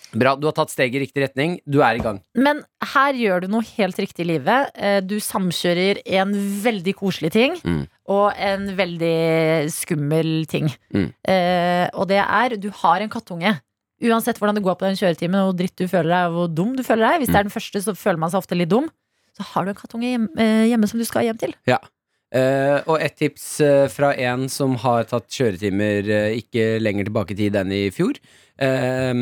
Bra, du har tatt steget i riktig retning. Du er i gang.
men her gjør du noe helt riktig i livet. Eh, Du samkjører en veldig koselig ting
Mm.
og en veldig skummel ting.
Mm.
Eh, og det er du har en kattunge. Uansett hvordan det går på den kjøretimen, og hvor dritt du føler deg, og hvor dum du føler deg. Hvis
Mm.
det er den første, så føler man seg ofte litt dum. Så har du en kattunge hjem, eh, hjemme som du skal hjem til.
Eh, og et tips eh, fra en som har tatt kjøretimer eh, ikke lenger tilbake i tid enn i fjor. Eh,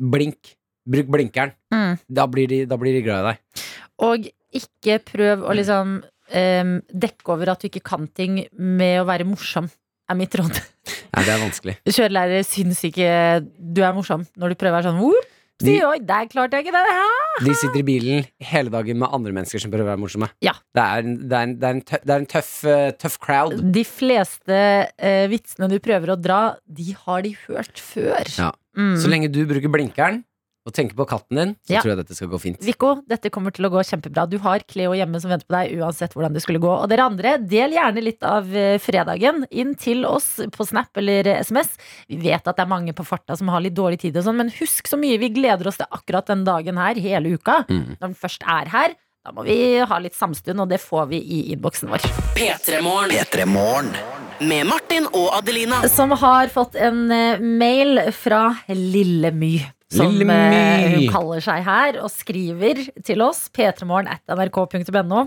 blink. Bruk blinkeren. Da blir de, da blir de glad i deg.
Og ikke prøv
Mm.
å liksom em, dekke over at du ikke kan ting med å være morsom, er mitt råd.
Nei, det er vanskelig.
Kjørelærere syns ikke du er morsom når du prøver å være sånn Whoop, si,
De-
oi, der klarte jeg ikke det her!
De sitter i bilen hele dagen med andre mennesker som prøver å være morsomme.
Ja.
Det er, en- det er, en- det er en, tøff, det er en tøff, eh, tøff crowd.
De fleste eh, vitsene du prøver å dra, de har de hørt før.
Ja.
Mm.
Så lenge du bruker blinkeren og tenker på katten din, så
Ja.
tror jeg dette skal gå fint.
Viggo, dette kommer til å gå kjempebra. Du har Cleo hjemme som venter på deg, uansett hvordan det skulle gå. Og dere andre, del gjerne litt av eh, fredagen inn til oss på Snap eller eh, SMS. Vi vet at det er mange på farta som har litt dårlig tid og sånn, men husk så mye vi gleder oss til akkurat den dagen her, hele uka.
Mm.
Når den først er her, da må vi ha litt samstund, og det får vi i innboksen vår.
P3-morgen. Med Martin og Adelina.
Som har fått en eh, mail fra Lille My. Som
Lille My.
eh, hun kaller seg her, og skriver til oss p3morgen at nrk.no.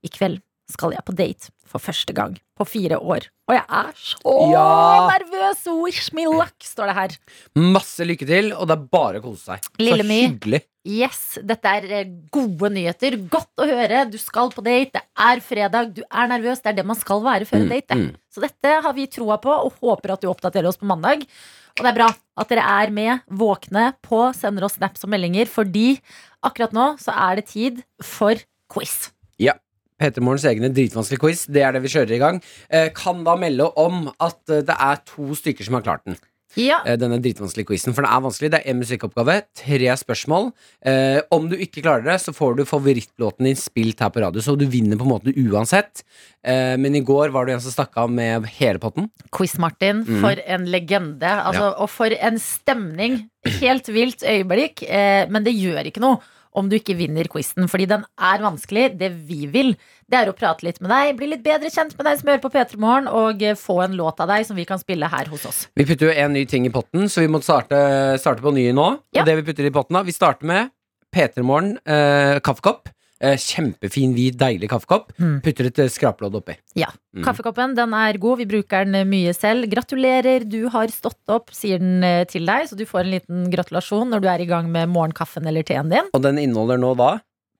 I kveld skal jeg på date for første gang på fire år. Og jeg er så
Ja.
nervøs! Wish me luck, står det her.
Masse lykke til, og det er bare å kose seg.
Lille
så
My.
hyggelig.
Yes, dette er eh, gode nyheter. Godt å høre. Du skal på date, det er fredag, du er nervøs. Det er det man skal være før en
Mm,
date. det. Så dette har vi troa på, og håper at du oppdaterer oss på mandag. Og det er bra at dere er med, våkne på, sender oss snaps og meldinger, fordi akkurat nå så er det tid for quiz.
Peter Morgens egne dritvanskelig quiz. Det er det vi kjører i gang. Eh, Kan da melde om at eh, det er to stykker som har klart den.
Ja,
eh, denne dritvanskelige quizen. For den er vanskelig. Det er én musikkoppgave, tre spørsmål. Eh, om du ikke klarer det, så får du favorittlåten din spilt her på radio. Så du vinner på en måte uansett. Eh, men i går var det en som stakk av med hele potten.
Quiz-Martin,
Mm.
for en legende. Altså, Og for en stemning. Helt vilt øyeblikk. Eh, men det gjør ikke noe om du ikke vinner quizen, fordi den er vanskelig. Det vi vil, det er å prate litt med deg, bli litt bedre kjent med deg som hører på P3 Morgen, og eh, få en låt av deg som vi kan spille her hos oss.
Vi putter jo en ny ting i potten, så vi må starte, starte på ny nå.
Ja.
Og det vi putter i potten da, vi starter med P3 Morgen eh, kaffekopp. Eh, kjempefin, hvit, deilig kaffekopp.
Mm.
Putter et eh, skraplodd oppi.
Ja.
Mm.
Kaffekoppen den er god, vi bruker den mye selv. Gratulerer, du har stått opp, sier den eh, til deg. Så du får en liten gratulasjon når du er i gang med morgenkaffen eller teen din.
Og den inneholder nå da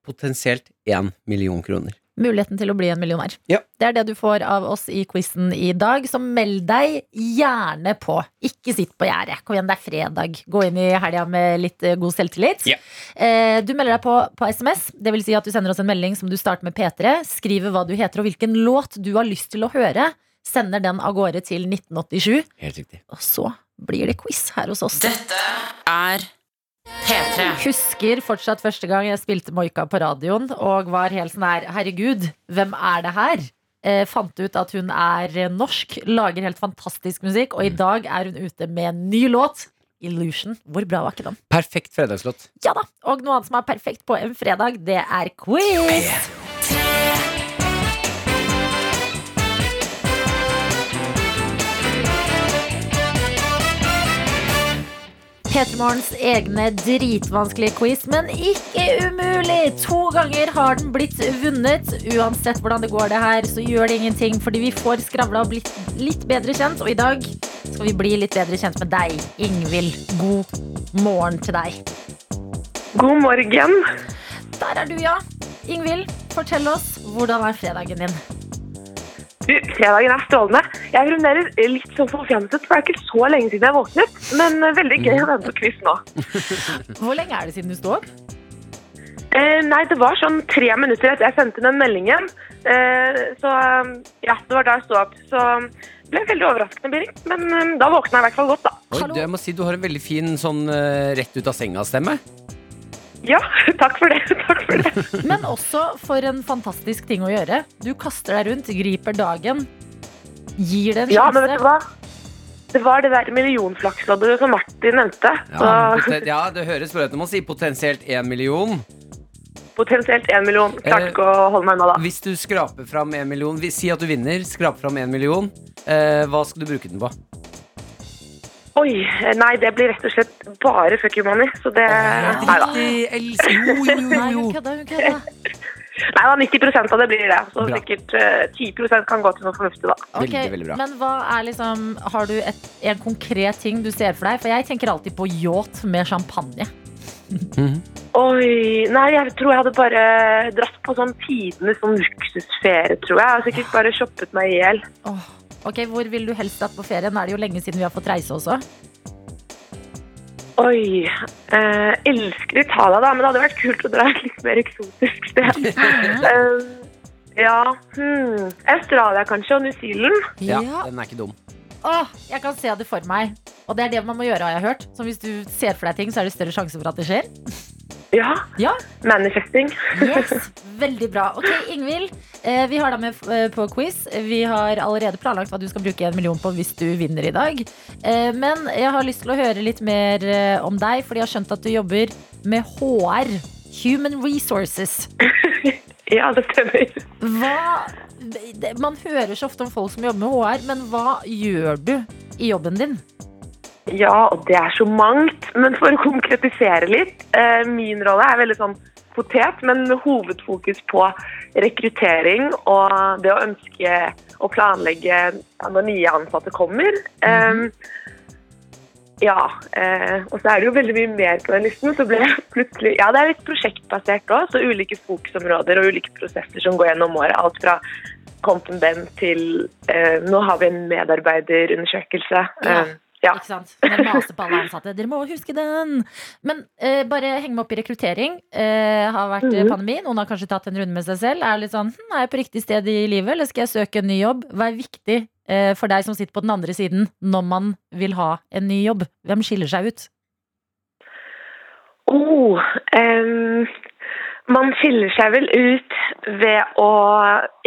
potensielt én million kroner.
Muligheten til å bli en millionær.
Ja.
Det er det du får av oss i quizen i dag, så meld deg gjerne på. Ikke sitt på gjerdet. Kom igjen, det er fredag. Gå inn i helga med litt eh, god selvtillit.
Ja.
Eh, Du melder deg på på SMS. Det vil si at du sender oss en melding som du starter med P3. Skriver hva du heter og hvilken låt du har lyst til å høre. Sender den av gårde til 1987.
Helt riktig.
Og så blir det quiz her hos oss.
Dette er P3.
Husker fortsatt første gang jeg spilte Moika på radioen og var helt sånn her Herregud, hvem er det her? Eh, fant ut at hun er eh, norsk, lager helt fantastisk musikk, og i dag er hun ute med en ny låt. Illusion. Hvor bra var ikke den?
Perfekt fredagslåt.
Ja da! Og noe annet som er perfekt på en fredag, det er quiz. P3morgens egne dritvanskelige quiz, men ikke umulig! To ganger har den blitt vunnet. Uansett hvordan det går det her, så gjør det ingenting, fordi vi får skravla og blitt litt bedre kjent. Og i dag skal vi bli litt bedre kjent med deg, Ingvild. God morgen til deg.
God morgen.
Der er du, ja. Ingvild, fortell oss hvordan er fredagen din.
Du, fredagen er strålende. Jeg er fremdeles litt sånn forfjamset, for det er ikke så lenge siden jeg våknet. Men eh, veldig gøy å være med på quiz nå.
Hvor lenge er det siden du sto opp?
Eh, nei, det var sånn tre minutter etter jeg sendte den meldingen. Eh, så eh, ja, det var da jeg sto opp. Så eh, ble jeg veldig overraskende, Birgit. Men eh, da våkna jeg i hvert fall godt, da.
Oi,
Hallo.
du, jeg må si du har en veldig fin sånn eh, rett ut av senga-stemme.
Ja, takk for det. Takk for det.
Men også for en fantastisk ting å gjøre. Du kaster deg rundt, griper dagen. Gir det en
Ja,
sjanse.
men vet du hva? Det var det der millionflaksloddet som Martin nevnte.
Ja,
Så
poten- ja, det høres bra ut når man sier potensielt én million.
potensielt én million. Klarte
Eh,
ikke å holde meg unna da.
Hvis du skraper fram én million, vi- si at du vinner, skraper fram én million, eh, hva skal du bruke den på?
Oi, eh, nei, det blir rett og slett bare fuck you money. Så det Eh, Nei da.
Riktig, elsker Jo,
Nei,
jo,
hun
jo, jo.
kødda, hun kødda.
Nei da, 90 av det blir det. Så
Bra.
sikkert eh, 10 kan gå til noe fornuftig, da.
Ok,
Veldig, veldig bra.
Men hva er liksom Har du et, en konkret ting du ser for deg? For jeg tenker alltid på yacht med champagne.
Oi Nei, jeg tror jeg hadde bare dratt på sånn tidenes sånn luksusferie, tror jeg. Jeg har sikkert bare shoppet meg i hjel.
Åh. Ok, Hvor vil du helst dratt på ferie? Nå er det jo lenge siden vi har fått reise også.
Oi. eh, elsker Italia, da, men det hadde vært kult å dra et litt mer eksotisk sted. Eh, ja hmm. Australia kanskje, og New Zealand.
Ja, den er ikke dum.
Åh, jeg kan se det for meg. Og det er det man må gjøre, har jeg hørt. Så hvis du ser for deg ting, så er det større sjanse for at det skjer.
Ja.
Ja.
Manifesting.
Yes, Veldig bra. Ok, Ingvild, eh, vi har deg med eh, på quiz. Vi har allerede planlagt hva du skal bruke en million på hvis du vinner i dag. Eh, Men jeg har lyst til å høre litt mer eh, om deg, fordi jeg har skjønt at du jobber med HR. Human Resources.
Ja, det stemmer.
Hva det- Man hører så ofte om folk som jobber med HR, men hva gjør du i jobben din?
Ja, og det er så mangt. Men for å konkretisere litt. Eh, min rolle er veldig sånn potet, men med hovedfokus på rekruttering og det å ønske å planlegge ja, når nye ansatte kommer. Eh, ja, eh, og så er det jo veldig mye mer på den listen. Så ble jeg plutselig Ja, det er litt prosjektbasert òg, så ulike fokusområder og ulike prosesser som går gjennom året. Alt fra Compton Ben til eh, Nå har vi en medarbeiderundersøkelse.
Ja.
Eh, Ja.
Ikke sant? Dere maser på alle ansatte. Dere må huske den! Men eh, bare heng meg opp i rekruttering. Eh, har vært eh,
Mhm.
pandemi. Noen har kanskje tatt en runde med seg selv. Er litt sånn, hm, er jeg på riktig sted i livet, eller skal jeg søke en ny jobb? Hva er viktig eh, for deg som sitter på den andre siden når man vil ha en ny jobb? Hvem skiller seg ut?
Oh, em, man skiller seg vel ut ved å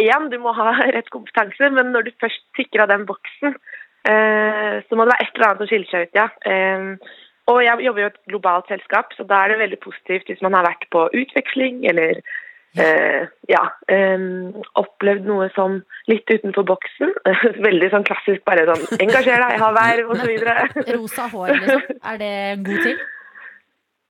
Igjen, du må ha rett kompetanse, men når du først sikrer den boksen, eh, så må det være et eller annet som skiller seg ut, ja. Em, og jeg jobber jo i et globalt selskap, så da er det veldig positivt hvis man har vært på utveksling eller eh, ja, em, opplevd noe som litt utenfor boksen. Veldig sånn klassisk bare sånn engasjer deg, ha verv osv.
Rosa hår, liksom. Er det en god ting?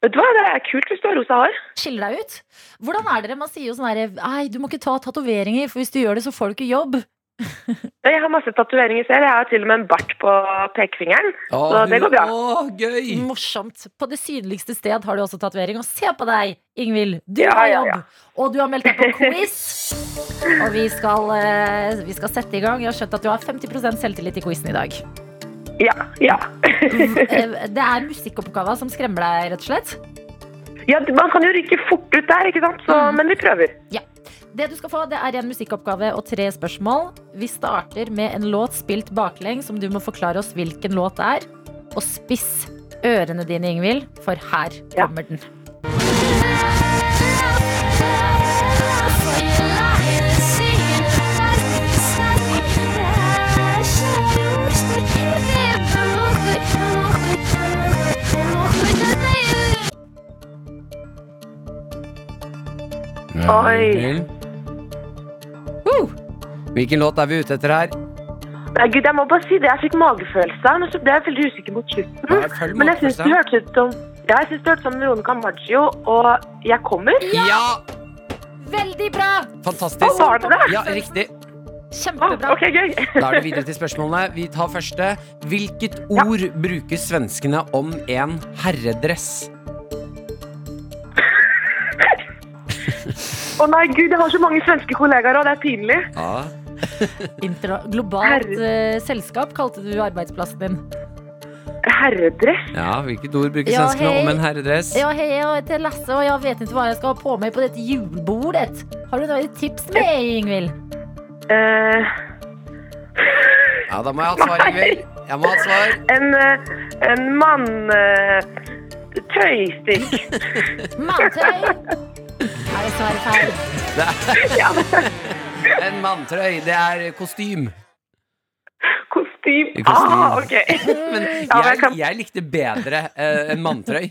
Vet du hva, det er kult hvis du har rosa hår.
Skille deg ut? Hvordan er dere? Man sier jo sånn herre Nei, du må ikke ta tatoveringer, for hvis du gjør det, så får du ikke jobb.
Jeg har masse tatoveringer selv. Jeg har til og med en bart på pekefingeren. Så det går bra.
Å,
Mm.
Mm,
gøy!
Morsomt. På det synligste sted har du også tatovering. Og se på deg, Ingvild. Du
Ja,
har
ja,
jobb.
ja.
Og du har meldt deg på quiz. Og vi skal, eh, vi skal sette i gang. Jeg har skjønt at du har 50 selvtillit i quizen i dag.
Ja, ja.
Eh, Det er musikkoppgava som skremmer deg, rett og slett.
ja man kan jo rykke fort ut der, ikke sant? Så,
Mm.
men vi prøver.
Det du skal få, det er en musikkoppgave og tre spørsmål. Vi starter med en låt spilt baklengs, som du må forklare oss hvilken låt det er. Og spiss ørene dine, Ingvild, for her
Ja.
kommer den.
Oi.
Woo!
Hvilken låt er vi ute etter her?
Nei, Gud, jeg må bare si det. Jeg fikk magefølelse, men så ble jeg veldig usikker mot slutten.
Ja, følg
Men jeg syns det
magefølelsen.
hørtes ut som ja, jeg synes det hørtes ut som Veronica Maggio og Jeg kommer.
Ja!
Veldig bra!
Fantastisk.
Var det det?
Ja, riktig.
Å,
Kjempebra.
ok, gøy.
Da er det videre til spørsmålene. Vi tar første. Hvilket ord bruker svenskene om en herredress?
Å nei, gud, jeg har så mange svenske kollegaer, og det er pinlig.
Ja.
Interna- globalt eh, selskap kalte du arbeidsplassen din.
Herredress.
Hvilket ord bruker
Ja,
svenskene
hei.
om en herredress?
Ja, hei, jeg heter Lasse, og jeg vet ikke hva jeg skal ha på meg på dette julebordet. Har du noen tips med, Ingvild?
Eh,
Ja, da må jeg ha et svar, Ingvild. Jeg må ha et svar.
en eh, en mann... Uh, tøystikk.
Manntøy? Er det svaret feil?
En manntrøy. Det er kostym.
Kostyme.
Kostyme.
Ah, ok.
Men
Ja, men jeg
jeg,
kan-
jeg likte bedre eh, en manntrøy.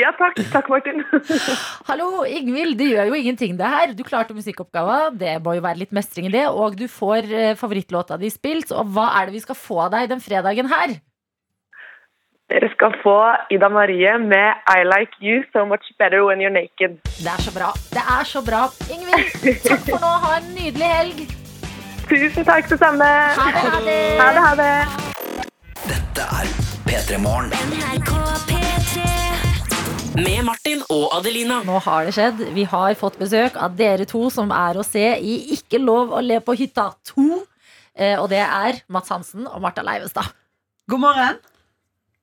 Ja, takk. Takk, Martin.
Hallo, Ingvild, det gjør jo ingenting det her. Du klarte musikkoppgava, det må jo være litt mestring i det. Og du får eh, favorittlåta di spilt. Og hva er det vi skal få av deg den fredagen her?
Dere skal få Ida Marie med I like you so much better when you're naked.
Det er så bra. Det er så bra. Ingvild, takk for nå. Ha en nydelig helg.
Tusen takk, det samme.
Ha det, ha det.
Ha det, ha det.
Med Martin og Adelina.
Nå har det skjedd. Vi har fått besøk av dere to som er å se i Ikke lov å le på hytta 2. Eh, Og det er Mats Hansen og Marta Leivestad.
God morgen.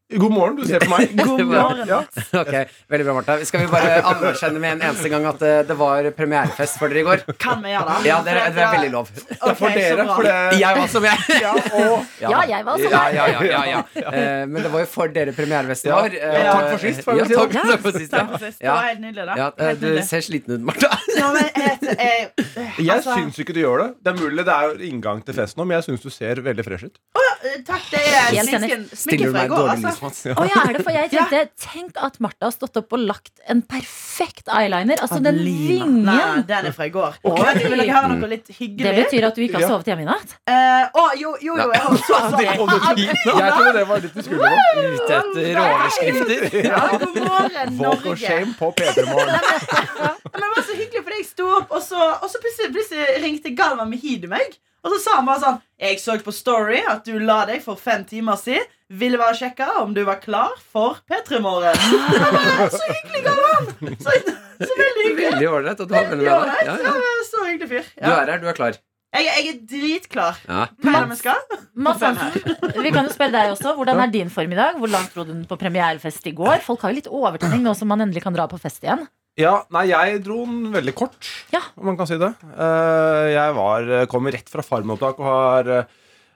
God morgen, du ser på meg.
God morgen.
Ja.
Ok, Veldig bra, Martha. Skal vi bare anerkjenne med en eneste gang at eh, det var premierefest for dere i går?
Kan vi gjøre det?
Ja, det er, det er veldig lov.
Ok,
For
så
dere,
bra.
for det
Jeg var som jeg.
ja, og,
Ja, jeg var sånn, også
Ja,
der.
ja, ja, ja, ja. Eh, Men det var jo for dere premierefesten
Ja.
vår. eh,
Ja, takk for sist, får jeg
ja,
vel si da.
takk, takk for sist,
Takk
ja.
for sist. Det
Ja.
var helt nydelig, da.
Ja, eh,
Helt
du
nydelig.
ser sliten ut, Martha.
Ja, men eh, jeg, jeg,
jeg
altså,
syns ikke du gjør det. Det er mulig det er jo inngang til festen nå, men jeg syns du ser veldig fresh ut.
eh, Takk, det er
Helt enig.
sminken,
Stiller
sminken
du
fra
meg
i
et
går,
dårlig lys,
altså.
Mats?
Å ja, er det for jeg tenkte Tenk at Martha har stått opp og lagt en perfekt eyeliner. Altså den
Adelina.
vingen.
Nei, den er fra i går. Men Vil dere høre noe litt
Det
hyggelig?
betyr at du ikke har sovet hjemme i natt?
Eh, å, jo, jo, jo, jeg har så så-
Og det, jeg trodde det var litt vi skulle på.
Ute etter overskrifter.
Ja, God morgen,
Walk of
Norge.
shame på P3 Morgen.
Men det var så hyggelig, for jeg sto opp, og så, og så plutselig, plutselig ringte Galvan Mehidi meg. Og så sa han bare sånn Jeg så på Story at du la deg for fem timer siden. Ville bare sjekke om du var klar for P3 Morgen. Jeg bare, Så hyggelig, Galvan! Så, så veldig hyggelig.
Veldig ålreit at du har venner
Veldig
med deg.
ålreit.
Ja,
Ja,
ja.
Så hyggelig fyr.
Du
Ja.
er her, du er klar.
Jeg, jeg er dritklar.
Ja.
Hva er det vi skal?
Mads Hansen, vi kan jo spørre deg også. Hvordan er din form i dag? Hvor langt dro du på premierefest i går? Folk har jo litt overtenning nå som man endelig kan dra på fest igjen.
Ja, nei, jeg dro den veldig kort, om man kan si det. Eh, Jeg var, kom rett fra farmopptak og har eh,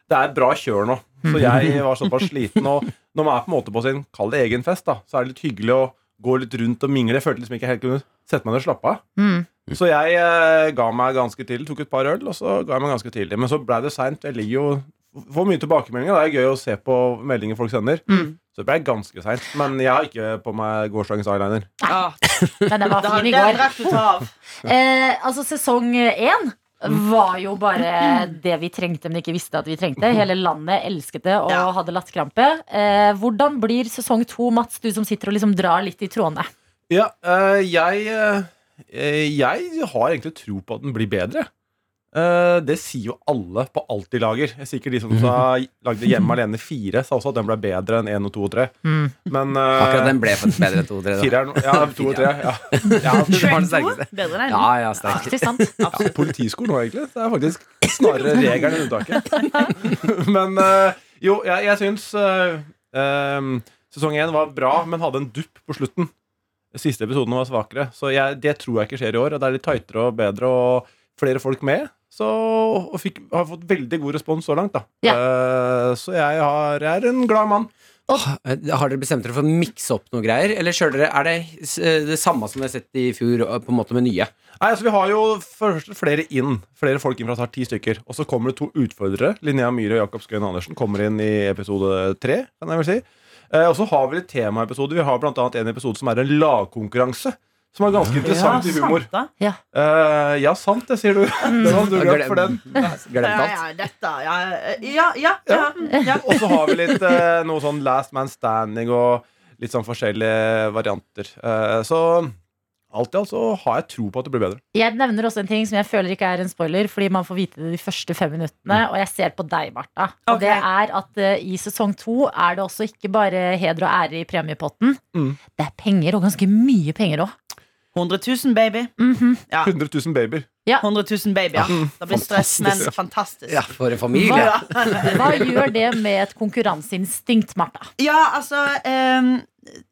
Det er bra kjør nå. Så jeg var såpass sliten. Og når man er på en måte på sin kall det egen fest, da, så er det litt hyggelig å gå litt rundt og mingle. Jeg følte liksom ikke jeg helt kunne sette meg ned og slappe av.
Mm.
Så jeg eh, ga meg ganske tidlig, tok et par øl, og så ga jeg meg ganske tidlig. Men så blei det seint. Jeg ligger jo Får mye tilbakemeldinger. Det er gøy å se på meldinger folk sender.
Mm.
Så det blei ganske seint. Men jeg har ikke på meg gårsdagens eyeliner.
Men den var
Da-
Ah, fin i
den
går.
drakk du ta av.
Eh, altså, sesong én
Mm.
var jo bare det vi trengte, men ikke visste at vi
Mm.
trengte. Hele landet elsket det og hadde latterkrampe. Eh, hvordan blir sesong to, Mats, du som sitter og liksom drar litt i trådene?
Ja, eh, jeg eh, Jeg har egentlig tro på at den blir bedre. Eh, det sier jo alle på alt de lager. Jeg er Sikkert de som sa, lagde Hjemme alene 4, sa også at den ble bedre enn 1 og 2 og 3.
Mm.
Men eh,
Akkurat den ble faktisk bedre enn to og tre. da.
fireren Ja, 2 og 3. Ja. Ja,
Det var den
ja,
sterkeste.
Bedre enn
Ja, ja, sterk.
Politiskolen nå, egentlig. Det er faktisk snarere regelen enn unntaket. Men eh, jo, jeg, jeg syns eh, eh, sesong 1 var bra, men hadde en dupp på slutten. Siste episoden var svakere, så jeg, det tror jeg ikke skjer i år. og Det er litt tightere og bedre og flere folk med. Så, og fikk, har fått veldig god respons så langt, da. Eh, så jeg, har, jeg er en glad mann.
Eh, Har dere bestemt dere for å mikse opp noe greier, eller kjører dere, er det s- eh, det samme som dere har sett i fjor, eh, på en måte med nye?
Nei, altså Vi har jo først flere inn. Flere folk inn fra start, ti stykker. Og så kommer det to utfordrere. Linnea Myhre og Jakob Skøyen Andersen kommer inn i episode tre. Kan jeg vel si. Eh, og så har vi litt temaepisoder. Vi har blant annet en episode som er en lagkonkurranse. Som er ganske interessant i humor.
sant da.
Ja.
Eh, ja, sant det, sier du. Den har du
Og
glemt for den.
Glemt
Ja,
alt.
ja, dette, ja, ja, ja, ja, ja.
Og så har vi litt eh, noe sånn Last Man Standing og litt sånn forskjellige varianter. Eh, så alt i alt så har jeg tro på at det blir bedre.
Jeg nevner også en ting som jeg føler ikke er en spoiler, fordi man får vite det de første fem minuttene.
Mm.
Og jeg ser på deg, Martha. Og
Ok.
det er at eh, i sesong to er det også ikke bare heder og ære i premiepotten.
Mm.
Det er penger, og ganske mye penger òg.
100 000, baby. Ja.
100 000 babyer.
100 000 babyer. Da blir stress, men
Fantastisk.
fantastisk.
Ja, for en familie.
Hva, hva gjør det med et konkurranseinstinkt, Martha?
Ja, altså ehm,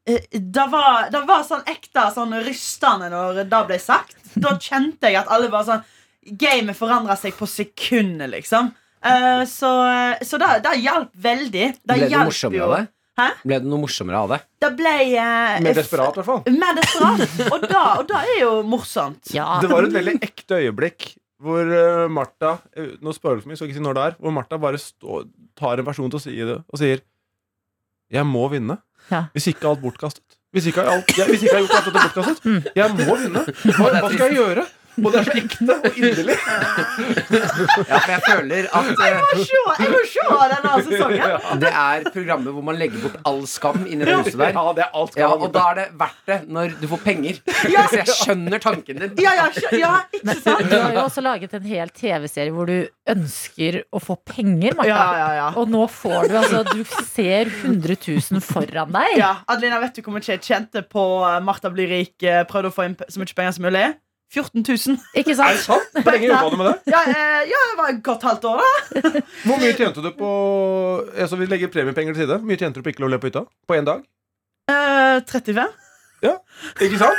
eh, det, var, det var sånn ekte sånn rystende når det ble sagt. Da kjente jeg at alle bare sånn Gamet forandra seg på sekundet, liksom. Eh, så så det, det hjalp veldig. Det
Ble det noe
hjalp
morsommere
jo.
av det?
Hæ?
Ble det noe morsommere av det?
Det ble eh,
Mer desperat, i hvert fall.
Mer desperat. Og da, og da er jo morsomt.
Ja,
Det var et veldig ekte øyeblikk hvor eh, Martha eh, Nå spør du for mye, så jeg skal ikke si når det er. Hvor Martha bare stå, tar en person til å si det og sier 'Jeg må vinne'.
Ja.
Hvis ikke er alt bortkastet. Hvis ikke er alt, jeg, hvis ikke jeg har gjort alt dette bortkastet. Jeg må vinne. Hva, hva skal jeg gjøre? Og det er så ekte og inderlig.
Ja, for jeg føler at eh,
Må se, jeg må se denne sesongen.
det er programmet hvor man legger bort all skam inni det huset der.
Ja, det er alt skal
Ja,
være
og
borte.
da er det verdt det når du får penger. Så jeg skjønner tanken din.
Ja, ja, skjø- ja, ikke sant?
Du har jo også laget en hel TV-serie hvor du ønsker å få penger, Martha.
Ja, ja, ja.
Og nå får du altså Du ser 100 000 foran deg.
Ja, Adelina, vet du hvor mye jeg tjente på eh, Martha blir rik? eh, Prøvde å få inn p- så mye penger som mulig? 14 000.
Ikke
Er det
sant?
sant? Hvor lenge jobba du med det?
Ja, eh, ja, det var et godt halvt år, da.
Hvor mye tjente du på altså, Vi legger premiepenger til side. Hvor mye tjente du på ikke å løpe på hytta? På én dag?
Eh, 35.
Ikke sant?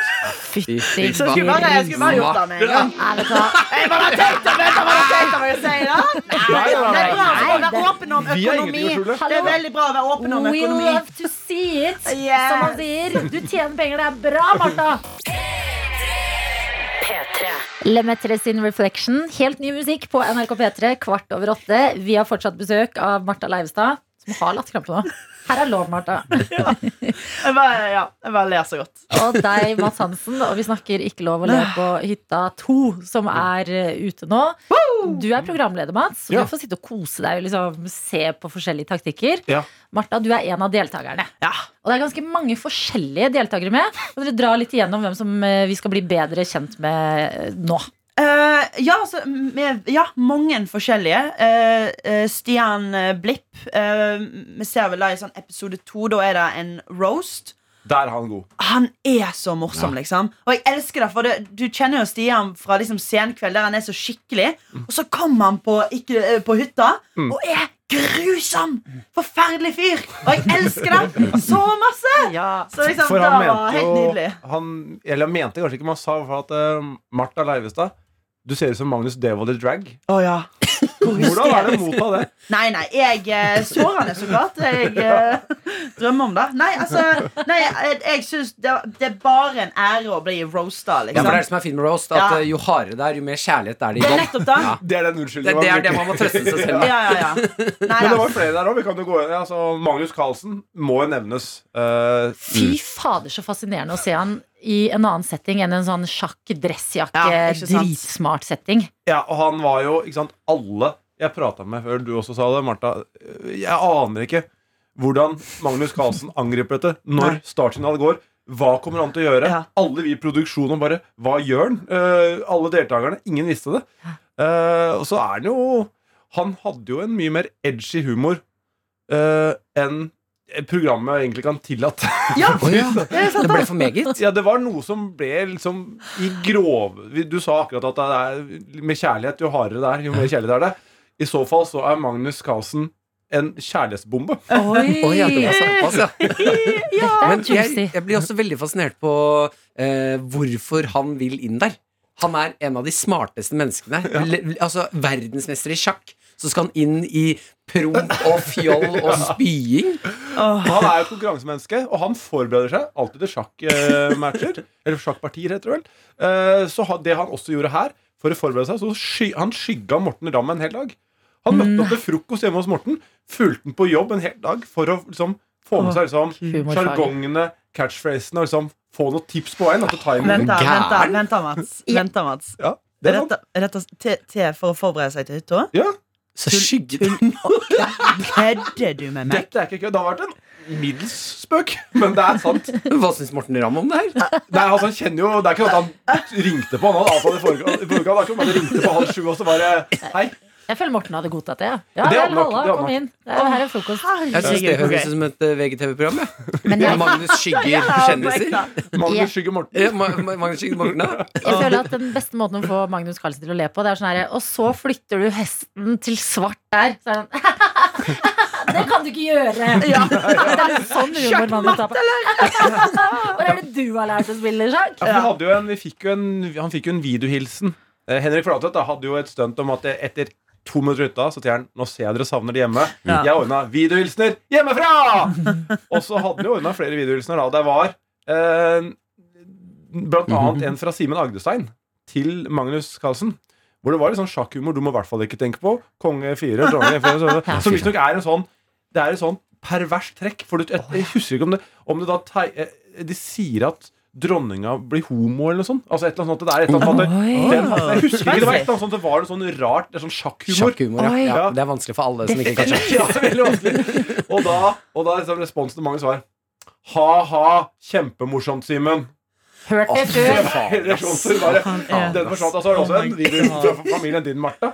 Fytti
Så jeg skulle bare, jeg skulle bare gjort det med en gang.
Nei, vet du hva?
Jeg bare tenkte, vet du hva jeg tenkte meg å si, da?
Nei,
Det
nei,
er
nei.
bra å være åpen om
Vi har
økonomi.
ingenting å skjule.
Det er veldig bra å være åpen om
We
økonomi.
love to see it,
Yes.
som man sier. Du tjener penger, det er bra, Martha! Lemetre sin Reflection. Helt ny musikk på NRK P3 kvart over åtte. Vi har fortsatt besøk av Martha Leivestad, som har latterkrampe nå. Her er lov, Martha.
Jeg bare, ja, jeg bare ler så godt.
Og deg, Mads Hansen. Og vi snakker Ikke lov å le på hytta 2, som er eh, ute nå. Du er programleder, Mats. Så
Ja.
du får sitte og kose deg og liksom se på forskjellige taktikker.
Ja.
Martha, du er en av deltakerne.
Ja.
Og det er ganske mange forskjellige deltakere med. Og dere drar litt igjennom hvem som eh, vi skal bli bedre kjent med eh, nå.
Eh, ja, altså, med, ja, mange forskjellige. Eh, eh, Stian eh, Blipp. eh, vi ser vel da i sånn episode to. Da er det en roast. Der er han god.
Han er så morsom,
Ja.
liksom. Og jeg elsker det, for det, du kjenner jo Stian fra liksom Senkveld, der han er så skikkelig.
Mm.
Og så kommer han på, ikke, eh, på hytta
Mm.
og er grusom! Forferdelig fyr! Og jeg elsker det så masse! Så liksom,
For
det
han
var
mente
helt nydelig.
jo han, Eller han mente kanskje ikke, men han sa i hvert fall at eh, Martha Leivestad Du ser ut som Magnus Devold i drag.
Å ja
Hvordan er det å motta det?
Nei, nei, jeg eh, sår han det så klart. Jeg eh, drømmer om det. Nei, altså nei, Jeg, jeg syns det, det er bare en ære å bli roasta,
Ja,
liksom.
for det er det som er fint med roast, at
Ja.
eh, jo hardere det er, jo mer kjærlighet er det i
Det er
bånd.
nettopp det.
Ja.
Det er den unnskyldningen
Det, det er det
bruker.
man må trøste seg selv med.
Ja, ja, ja. Nei,
Men det
da.
var jo flere der òg. Vi kan jo gå inn altså, Magnus Carlsen må jo nevnes. Eh,
Fy fader, så fascinerende å se han i en annen setting enn en sånn
Ja, ikke sant.
sjakk-dressjakke-dritsmart setting.
Ja, og han var jo, ikke sant, alle jeg prata med før du også sa det, Martha. Jeg aner ikke hvordan Magnus Carlsen angriper dette. Når startsignalet går, hva kommer han til å gjøre? Alle vi i produksjonen bare Hva gjør han? Eh, alle deltakerne. Ingen visste det. Eh, og så er han jo Han hadde jo en mye mer edgy humor eh, enn programmet egentlig kan tillate.
Ja,
Det ble for meget?
Ja, det var noe som ble liksom i grov Du sa akkurat at det er med kjærlighet, jo hardere det er, jo mer kjærlighet er det. I så fall så er Magnus Carlsen en kjærlighetsbombe.
Oi. Oi, ja, det var såpass, Men jeg, jeg blir også veldig fascinert på eh, hvorfor han vil inn der. Han er en av de smarteste menneskene. Le, altså verdensmester i sjakk. Så skal han inn i promp og fjoll og spying.
Han er jo et konkurransemenneske, og han forbereder seg alltid til sjakkmatcher. Eller sjakkpartier, heter det vel. Eh, Så ha- det han også gjorde her, for å forberede seg, så sky han skygga Morten Ramm en hel dag. Han
Mm.
møtte opp til frokost hjemme hos Morten, fulgte han på jobb en hel dag for å liksom få med seg liksom
humorfag.
sjargongene, catchphrasene, og liksom få noen tips på veien. At det tar
Vent, da, vent, da, vent da, Mats. Vent da, Mats.
Ja,
Er
det er sant.
dette, er dette te, te for å forberede seg til hytta?
Ja.
Så skygget
Kødder du med meg?
Dette er ikke kødd. Det har vært en middels spøk, men det er sant.
Hva syns Morten Ramm om det her?
Nei, altså, han kjenner jo Det er ikke sånn at han ringte på han. Han avtalte i forkant. i forkant, Det er ikke sånn at han ringte på halv sju, og så bare Hei.
Jeg føler Morten hadde godtatt det. Ja,
Det
ja
er
vel,
nok,
halla,
det er
kom
nok.
inn. Det er, her er frokost.
Jeg syns det høres ut som et eh, VGTV-program.
Men
Ja.
jeg-
Eh, Magnus
Ja, oh
skygger
ja,
kjendiser.
Magnus
skygger Morten.
Ja, Ma Ma Magnus skygger Morten, ja.
Jeg føler at Den beste måten å få Magnus Carlsen til å le på, Det er sånn her Og så flytter du hesten til svart der. Så er han Det kan du ikke gjøre!
Ja.
Det er sånn humor man må ta på. Hvor er det du har lært å spille sjakk?
Ja, for vi hadde jo en, vi fikk jo en, han fikk jo en videohilsen. Eh, Henrik Flatseth da hadde jo et stunt om at det- etter to minutter ute så sier han Nå ser jeg dere savner det hjemme.
Ja.
Jeg ordna videohilsener hjemmefra! og så hadde vi ordna flere videohilsener da. Det var eh, blant
Mhm.
annet en fra Simen Agdestein til Magnus Carlsen. Hvor det var litt sånn sjakkhumor du må i hvert fall ikke tenke på. Konge fire, dronning fire, så-
Ja,
Som
fy.
visstnok er en sånn Det er et sånn pervers trekk. For du, jeg, jeg husker ikke om det, om det da tei- eh, De sier at dronninga blir homo, eller noe sånt. Altså et eller annet sånt, det er et eller annet sånt
Oi.
den, Jeg husker ikke, det var et eller annet sånt Det var noe sånn rart, det er sånn sjakkhumor.
Sjakkhumor, ja. ja. Det er vanskelig for alle som ikke kan sjakk.
Ja, det er veldig vanskelig. Og da, og da er liksom responsen til mange svar Ha-ha, kjempemorsomt, Simen.
Hørt det før.
altså.
Reaksjoner sånn bare.
Ja.
Den forsvant. Og så har du
Oh
også en video fra familien din, Martha.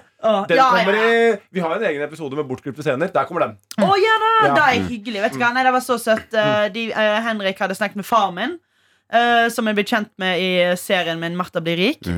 Den
ja,
kommer i Vi har en egen episode med bortklipte scener. Der kommer den.
Å ja da!
Ja. Mm.
Det er hyggelig. Vet du hva? Nei, det var så søtt. Eh, De, eh, Henrik hadde snakket med faren min, eh, som jeg ble kjent med i serien min 'Martha blir rik'.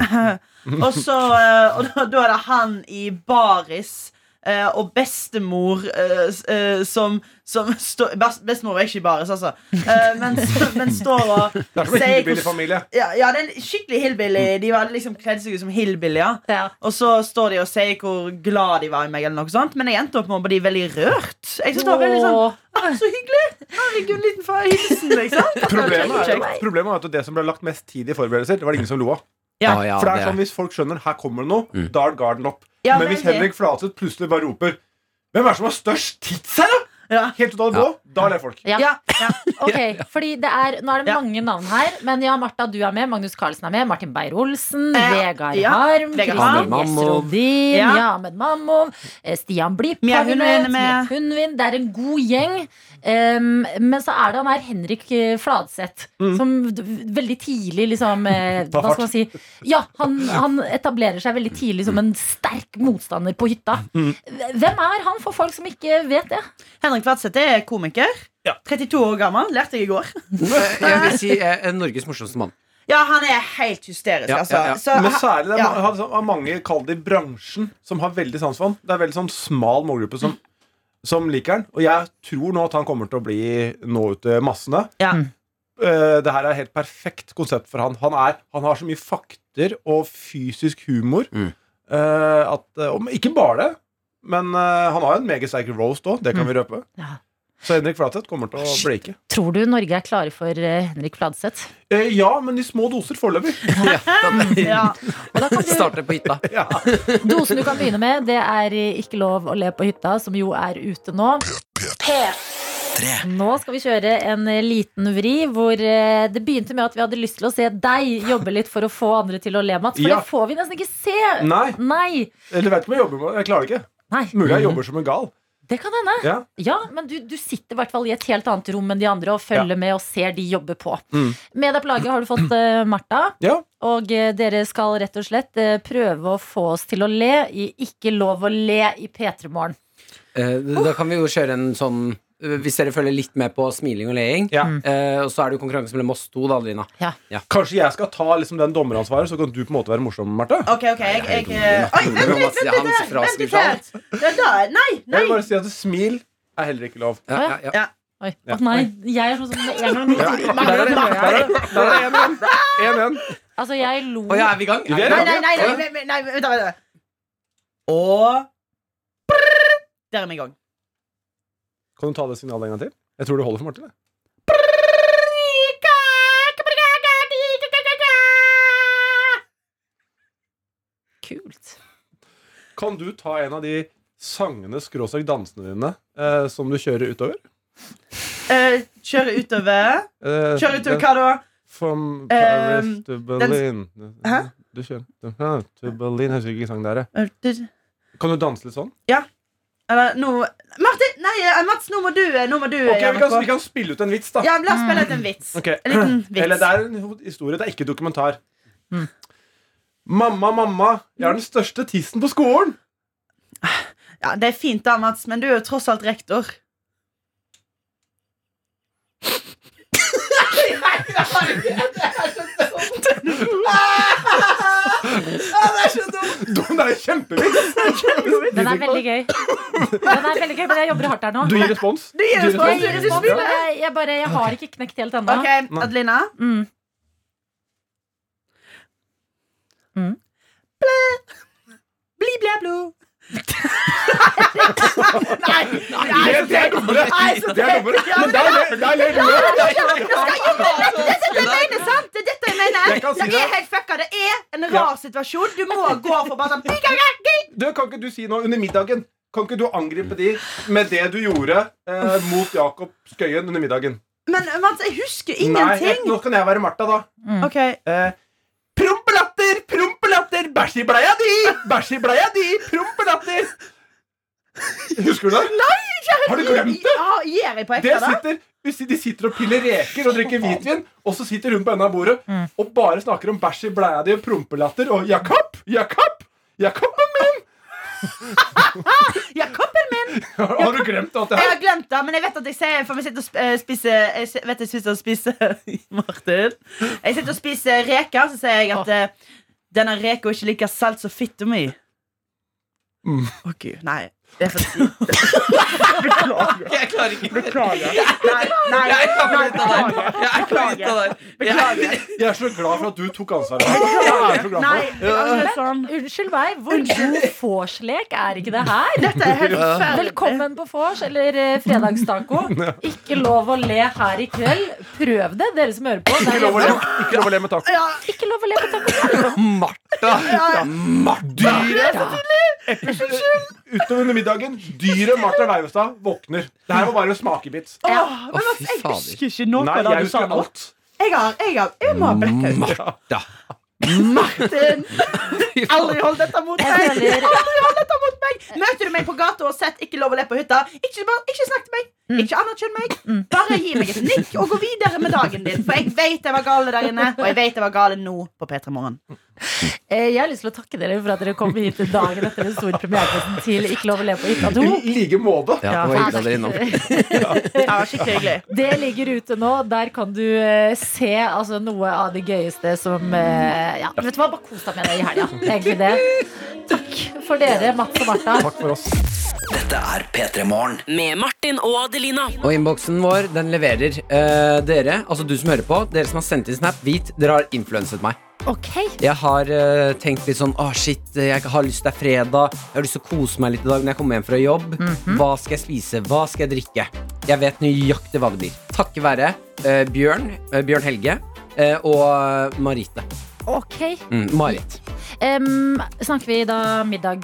og så eh, Og da, da er det han i baris. eh, og bestemor eh, s- eh, som, som står best, Bestemor er ikke i baris, altså. Eh, men, men står og
Det er som en
sier
hillbilly familie. Mm.
ja, ja, det er en skikkelig hillbilly. De var liksom kledd seg ut som hillbillyer. Og så står de og sier hvor glad de var i meg, eller noe sånt. Men jeg endte opp med å bli veldig rørt. Jeg synes det var veldig sånn
Åh.
«Ah, Så hyggelig! Herregud, en liten fa- hilsen, liksom.
Problemet er,
Kjekt.
problemet er at det som ble lagt mest tid i forberedelser, det var det ingen som lo av.
Ja. Ah, ja,
For det
det
er
er-
sånn Hvis folk skjønner her kommer det noe, da er garden opp.
Ja,
Men hvis
veldig.
Henrik Flatseth plutselig bare roper Hvem er det som har størst tits her, da? Helt ut av det blå. Da ler folk.
Ja. Ok, fordi det er, Nå er det mange navn her, men ja, Martha, du er med. Magnus Carlsen er med. Martin Beyer-Olsen.
Eh, Ja.
Vegard
Ja.
Harm.
Vegard
Kristin
Harm.
Gjess Rodin.
Ja.
Ja. Ahmed Mammov. eh, Stian Blipp.
Mia
har vi
Hundvin er
med,
med.
Mia Hundvin. Det er en god gjeng. Em, men så er det han her Henrik eh, Fladseth,
Mm.
som d- veldig tidlig liksom eh,
Tar
Hva
fart.
skal man si? Ja, han, han etablerer seg veldig
Mm.
tidlig som en sterk motstander på hytta. Hvem er han for folk som ikke vet det?
Henrik Tvedseth er komiker. 32 år gammel. Lærte jeg i går.
Jeg vil si eh, Norges morsomste mann.
Ja, han er helt hysterisk, altså. Så
Men
ha-
særlig det er
ja.
ma- har- har mange kall det i bransjen som har veldig sans for han. Det er veldig sånn smal målgruppe som, som liker han. Og jeg tror nå at han kommer til å bli nå ut til massene. Eh, Det her er et helt perfekt konsept for han. Han, er, han har så mye fakter og fysisk humor. eh, At, eh, og ikke bare det, men eh, han har jo en megasterk roast òg. Det
Mm.
kan vi røpe. Så Henrik Flatseth kommer til å bleke.
Tror du Norge er klare for eh, Henrik Fladseth?
Eh, Ja, men i små doser foreløpig.
Ja.
Starter på hytta.
Dosen du kan begynne med, det er Ikke lov å le på hytta, som jo er ute nå. Nå skal vi kjøre en eh, liten vri hvor eh, det begynte med at vi hadde lyst til å se deg jobbe litt for å få andre til å le, Mats. For
Ja.
det får vi nesten ikke se.
Nei.
Nei.
Eller vet ikke om jeg jobber med Jeg klarer det ikke. Mulig jeg jobber som en gal.
Det kan hende.
Ja.
men du, du sitter i hvert fall i et helt annet rom enn de andre og følger med og ser de jobbe på. Med deg på laget har du fått eh, Martha.
Ja.
Og eh, dere skal rett og slett eh, prøve å få oss til å le i Ikke lov å le i P3 Morgen.
Eh, Da kan vi jo kjøre en sånn eh, Hvis dere følger litt med på smiling og leing,
Mm.
eh, og så er det jo konkurranse mellom oss to, da, Adelina.
Kanskje jeg skal ta liksom den dommeransvaret, så kan du på en måte være morsom, Marte?
Ok, ok, jeg, jeg, eh, Oi, vent litt, vent litt!
Hans
der, Vent
fraskrift
litt her. Det er der. Nei,
Jeg vil
nei!
bare si at smil er heller ikke lov.
Ja, ja,
ja.
Oi.
Ja.
Å nei, jeg er sånn som med en gang
Ja.
Nei,
Der er det, der er det, der er det 1-1.
Altså, jeg lo
Å ja, er vi i gang?
Vi er i
Nei,
gang.
nei, nei, nei, nei, nei, nei, vent da, vent da. Og Prrr. Der er vi i gang.
Kan du ta det signalet en gang til? Jeg tror det holder for Marte. det.
Kult.
Kan du ta en av de sangene, skråstrek dansene dine, eh, som du kjører utover?
Eh, kjøre utover.
Eh,
Kjøre utover
den-
hva da?
From
Eh,
Paris to
den-
Berlin
Hæ?
Du kjører Aha, To Berlin, jeg husker ikke hvilken sang det er. jeg. Kan du danse litt sånn?
Ja. Eller nå Martin! Nei, eh, Mats, nå må du eh, Nå må du eh,
Ok, vi kan,
gjøre
vi
noe.
kan spille ut en vits, da.
Ja, men la oss spille ut en vits.
Ok.
En liten vits.
Eller det er en ho- historie, det er ikke dokumentar. Mamma, mamma, jeg er den største tissen på skolen.
Ja, Det er fint, da, Mats, men du er jo tross alt rektor.
Det er kjempevits!
Den er veldig gøy. Den er veldig gøy, Men jeg jobber hardt her nå.
Du gir respons?
Du gir respons,
Jeg, gir
du gir
respons.
respons.
Jeg- jeg, bare, jeg har ikke knekt helt ennå.
Ok, Adelina.
Mm.
Bli blæ blu. Nei! nei,
Det- det er dummere.
Nei, så
Det er dummere.
Ja,
Men
men
der ler- der ler du.
Dette er det jeg mener, sant? Det er dette jeg mener.
Jeg kan si
det
det.
er helt fucka. Det er en rar situasjon. Du må gå for bare sånn
Du, Kan ikke du si noe under middagen? Kan ikke du angripe de med det du gjorde eh, mot Jakob Skøyen under middagen?
Men eh, Mats, jeg husker
Nei, jeg,
ingenting.
nå kan jeg være Martha, da.
Mm.
Ok,
Eh, Prompelatter, prompelatter, bæsj i bleia di! Bæsj i bleia di, prompelatter! Husker du det? Nei, Har du glemt det?
Ja, Gir jeg på
det
ekte, da?
sitter, hvis de sitter og piller reker og drikker hvitvin, og så sitter hun på enden av bordet
Mm.
og bare snakker om bæsj i bleia di og prompelatter og 'Jakob! Jakob! Jakoben min!'
Ja, koppen min!
Har, har du glemt alt det
Jeg
her?
har glemt det, men jeg vet at jeg sier For vi sitter og sp- eh, spiser Jeg s- vet jeg sitter og spiser Martin. Jeg sitter og spiser reker, så sier jeg at eh, denne reka ikke liker salt som fitta mi. Å, gud. Nei. Det er for tidlig.
Jeg klarer ikke
Nei, nei,
Jeg klarer
nei,
ikke dette der. Jeg klarer ikke dette der. Jeg-
Jeg er så glad for at du tok ansvaret. Jeg er så glad for
nei,
det.
jeg angrer sånn.
Unnskyld meg, hvor god vorslek er ikke det her?
Dette er helt forferdelig.
Velkommen på vors eller eh, fredagstaco. Ikke lov å le her i kveld. Prøv det, dere som hører på.
Ikke lov å le- ikke lov å le med taco.
Ikke lov å le på taco.
Martha!
Dyret Utover under middagen, dyret Martha Leivestad våkner. Det her var bare en smakebit.
Åh,
Å,
men Mats,
fy
Altså, jeg
fader.
husker ikke noe
Nei,
av det
jeg
du sa
husker
nå.
alt.
Jeg har, jeg har, jeg må ha blackout.
Martha.
Martin! Aldri hold dette mot meg!
Jeg føler-
Aldri hold dette mot meg! Møter du meg på gata og sett 'ikke lov å le på hytta', ikke, bare, ikke snakk til meg. Ikke anerkjenn meg. Bare gi meg et nikk og gå videre med dagen din. For jeg vet jeg var gale der inne, og jeg vet jeg var gale nå på P3 Morgen.
Eh, Jeg har lyst til å takke dere for at dere kom hit dagen etter den store premiereprisen til Ikke lov å le på hytta 2.
I like måte.
Ja, det var hyggelig at dere innom.
Det var skikkelig hyggelig.
Det ligger ute nå. Der kan du eh, se altså, noe av det gøyeste som eh, ja, Vet du hva, bare kos deg med det i helga. Det er egentlig det. Takk for dere, Mats og Martha.
Takk for oss.
Dette er P3 Morgen. Med Martin og Adelina.
Og innboksen vår, den leverer. Eh, dere, altså du som hører på, dere som har sendt inn snap, vit dere har influenset meg.
Ok.
Jeg har eh, tenkt litt sånn Åh, shit, jeg har lyst til det er fredag. Jeg har lyst til å kose meg litt i dag når jeg kommer hjem fra jobb.
Mhm.
Hva skal jeg spise? Hva skal jeg drikke? Jeg vet nøyaktig hva det blir. Takket være eh, Bjørn, eh, Bjørn Helge eh, og Marite.
ok
Mm, Marit.
Em, Snakker vi da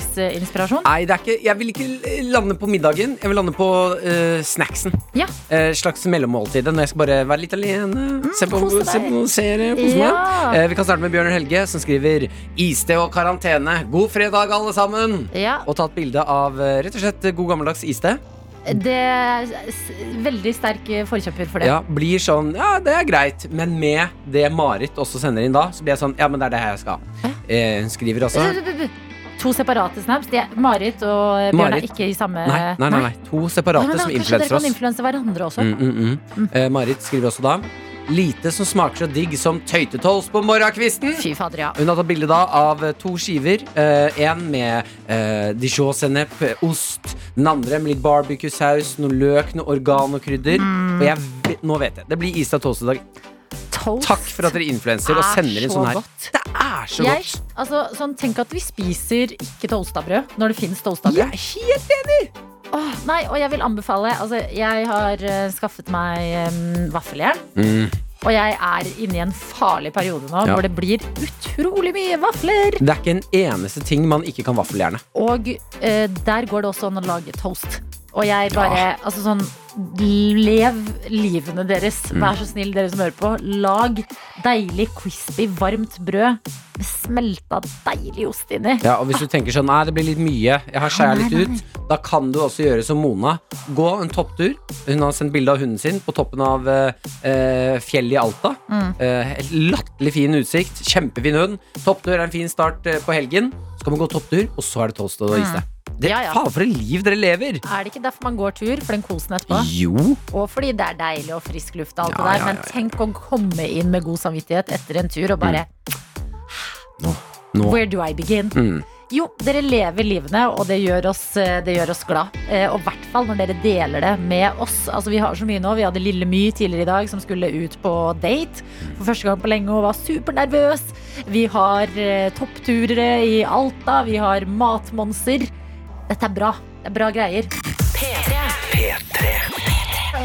middagsinspirasjon?
Nei, det er ikke, jeg vil ikke lande på middagen. Jeg vil lande på eh, snacksen.
Ja.
Eh, slags mellommåltid når jeg skal bare være litt alene. se på,
kose Mm, deg.
se på noen serier. Kose
Ja.
meg. Eh, vi kan starte med Bjørn Helge, som skriver iste og karantene. God fredag, alle sammen!
Ja,
Og ta et bilde av eh, rett og slett god gammeldags iste.
det er s- veldig sterk forkjemper for det.
Ja, blir sånn Ja, det er greit. Men med det Marit også sender inn da, så blir jeg sånn Ja, men det er det her jeg skal ha. Eh, hun skriver også
Du, du, du, du. To separate snaps. De er, Marit og Bjørn
Marit.
er ikke i samme
Nei, nei, nei. nei. To separate
Nei, men da,
som
kanskje
influenser
dere
oss.
kan influense hverandre også.
Mm, mm, mm. Eh, Marit skriver også da Lite som smaker så digg som tøytetolls på morgenkvisten.
Fy fader, ja.
Hun har tatt bilde da av eh, to skiver. Eh, en med eh, dijon-sennep, eh, ost. Den andre med litt barbecue-saus, noe løk, noe organ og krydder.
Mm.
Og jeg, ve- nå vet jeg. Det blir Ista Toast i dag.
Toast
Takk for at dere influenser og
er
sender inn
så
sånn her.
godt.
Det er så
Jeg,
godt.
altså, sånn, tenk at vi spiser ikke toastabrød når det finnes toastabrød.
Jeg er helt enig.
Åh, nei, og jeg vil anbefale altså, Jeg har eh, skaffet meg um, vaffeljern. Og jeg er inne i en farlig periode nå
Mm. Ja.
hvor det blir utrolig mye vafler.
Det er ikke en eneste ting man ikke kan vaffeljerne.
Og eh, der går det også an å lage toast. Og jeg bare Altså sånn Lev livene deres. Vær så snill, dere som hører på. Lag deilig, crispy, varmt brød med smelta, deilig ost inni.
Ja, og hvis du tenker sånn, nei, det blir litt mye, jeg har skjæret litt ut, da kan du også gjøre som Mona. Gå en topptur. Hun har sendt bilde av hunden sin på toppen av eh, eh, fjellet i Alta. Eh, latterlig fin utsikt. Kjempefin hund. Topptur er en fin start eh, på helgen. Så kan man gå topptur, og så er det toast og iste. Det,
Ja, ja.
Faen, for et liv dere lever!
Er det ikke derfor man går tur? For den kosen etterpå?
Jo.
Og fordi det er deilig og frisk luft og alt
Ja,
det der.
ja, ja, ja.
Men tenk å komme inn med god samvittighet etter en tur og bare
Mm. Nå.
Where do I begin?
Mm.
Jo, dere lever livene, og det gjør oss, det gjør oss glad. Eh, Og i hvert fall når dere deler det med oss. Altså, vi har så mye nå. Vi hadde Lille My tidligere i dag som skulle ut på date for første gang på lenge og var supernervøs. Vi har eh, toppturere i Alta. Vi har matmonser. Dette er bra. Det er bra greier.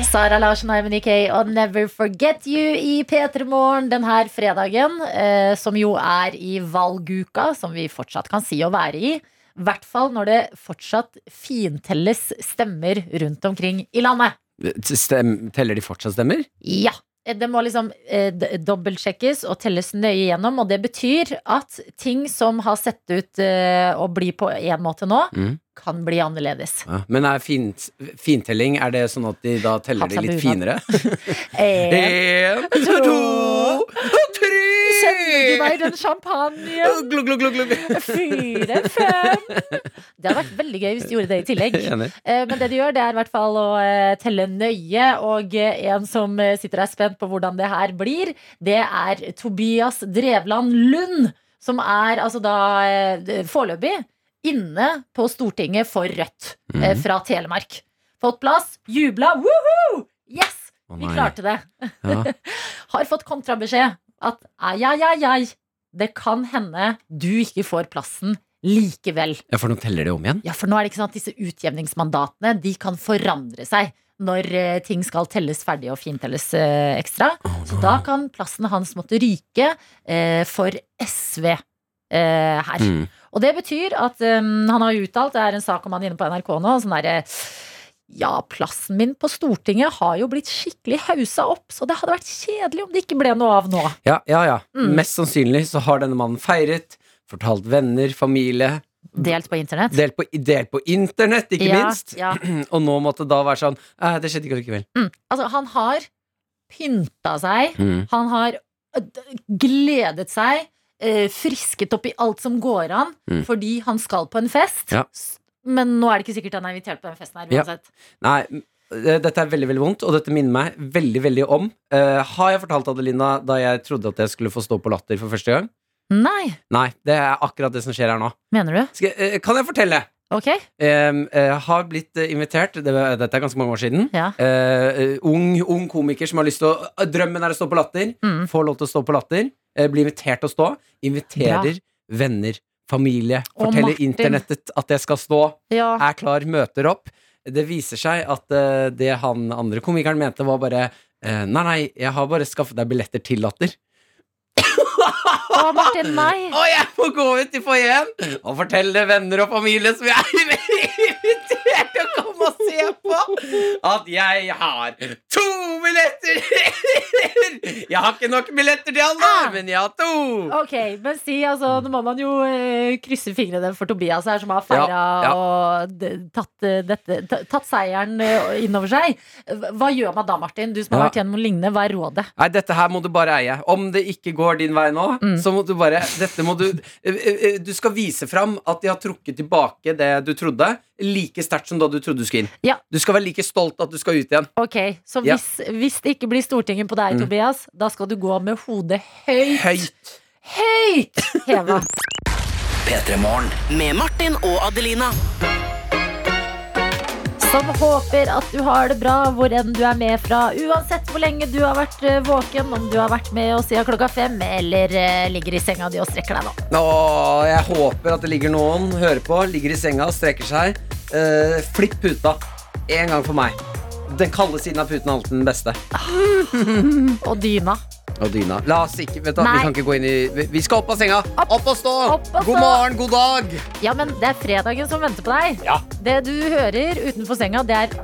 Sara Larsen, Eivind IK og Never Forget You i P3 Morgen denne fredagen, eh, som jo er i valguka, som vi fortsatt kan si å være i. I hvert fall når det fortsatt fintelles stemmer rundt omkring i landet.
Stem, teller de fortsatt stemmer?
Ja. eh, Det må liksom eh, d- dobbeltsjekkes og telles nøye gjennom, og det betyr at ting som har sett ut eh, å bli på én måte nå,
Mm.
kan bli annerledes.
Ja. Men er fint, fintelling, er det sånn at de da teller de
Hatt seg
litt
på
finere?
bunad. Eh,
En,
to,
og tre!
Kjenner du deg i den champagnen?
Glugg, glugg, glugg, glugg.
Fire, fem Det hadde vært veldig gøy hvis de gjorde det i tillegg.
Enig.
Eh, Men det de gjør, det er i hvert fall å eh, telle nøye. Og eh, en som eh, sitter og er spent på hvordan det her blir, det er Tobias Drevland Lund. Som er altså da eh, foreløpig inne på Stortinget for Rødt eh,
Mhm.
fra Telemark. Fått plass, jubla, woho! Yes!
Å,
Vi
nei.
klarte det.
Ja.
Har fått kontrabeskjed at ai, ai, ai, ai, det kan hende du ikke får plassen likevel.
Ja, for nå teller de om igjen?
Ja, for nå er det ikke sånn at disse utjevningsmandatene De kan forandre seg når eh, ting skal telles ferdig og fintelles eh, ekstra. Så da kan plassen hans måtte ryke eh, for SV eh, her.
Mm.
um, Og det betyr at eh, han har jo uttalt, det er en sak om han inne på NRK nå, sånn derre Ja, plassen min på Stortinget har jo blitt skikkelig haussa opp, så det hadde vært kjedelig om det ikke ble noe av nå.
Ja, ja, ja.
Mm.
Mest sannsynlig så har denne mannen feiret, fortalt venner, familie.
Delt på internett.
Delt på, delt på internett, ikke
Ja,
minst.
ja.
Og nå måtte det da være sånn eh, Det skjedde ikke allikevel.
Mm. Altså, han har pynta seg,
Mm.
han har ø, d- gledet seg, eh, frisket opp i alt som går an,
Mm.
fordi han skal på en fest.
Ja.
S- Men nå er det ikke sikkert han er invitert på den festen her
Ja.
uansett.
Nei, m- eh, dette er veldig veldig vondt, og dette minner meg veldig veldig om eh, Har jeg fortalt Adelina da jeg trodde at jeg skulle få stå på latter for første gang?
Nei,
Nei, det er akkurat det som skjer her nå.
mener du?
Skal, jeg- eh, kan jeg fortelle?
Ok?
Em, eh, har blitt eh, invitert, det, var- dette er ganske mange år siden.
Ja.
Eh, eh, ung, ung komiker som har lyst til å eh, Drømmen er å stå på latter.
Mm.
Får lov til å stå på latter. eh, blir invitert til å stå. Inviterer venner, familie.
Og
Forteller
Martin.
internettet at jeg skal stå.
Ja.
Er klar, møter opp. Det viser seg at eh, det han andre komikeren mente, var bare eh, Nei, nei, jeg har bare skaffet deg billetter til latter.
Å, Martin, nei!
Og jeg må gå ut i foajeen og fortelle venner og familie som jeg er invitert til å komme og se på, at jeg har to billetter! Jeg har ikke nok billetter til alle, men jeg har to!
Ok, men si altså, nå må man jo eh, krysse fingrene for Tobias her, som har feira
Mm. Ja, ja.
og d- tatt, eh, dette, ta- tatt seieren eh, innover seg. Hva gjør man da, Martin? Du som har
Ja.
vært gjennom noe lignende, hva er rådet?
Nei, dette her må du bare eie. Om det ikke går din vei nå,
Mm.
så må du bare Dette må du eh, eh, Du skal vise fram at de har trukket tilbake det du trodde, like sterkt som da du trodde du skulle inn.
Ja.
Du skal være like stolt at du skal ut igjen.
Ok, Så
Ja. Mm.
hvis, hvis det ikke blir Stortinget på deg, Tobias, da skal du gå med hodet høyt,
Høyt.
høyt heva.
P3-morgen. Med Martin og Adelina.
Som håper at du har det bra hvor enn du er med fra. Uansett hvor lenge du har vært eh, våken, om du har vært med oss siden klokka fem, eller eh, ligger i senga di og strekker deg nå.
Åh, jeg håper at det ligger noen Hører på, ligger i senga, streker seg Eh, Flipp puta En gang for meg Den kalde siden av puten er alltid den beste
Og dyna.
Og dyna La oss ikke, vet du, hva,
Nei.
vi kan ikke gå inn i vi- Vi skal opp av senga Opp, og stå
Opp og
God
stå.
morgen, god dag
Ja, men det er fredagen som venter på deg.
Ja.
Det du hører utenfor senga, det er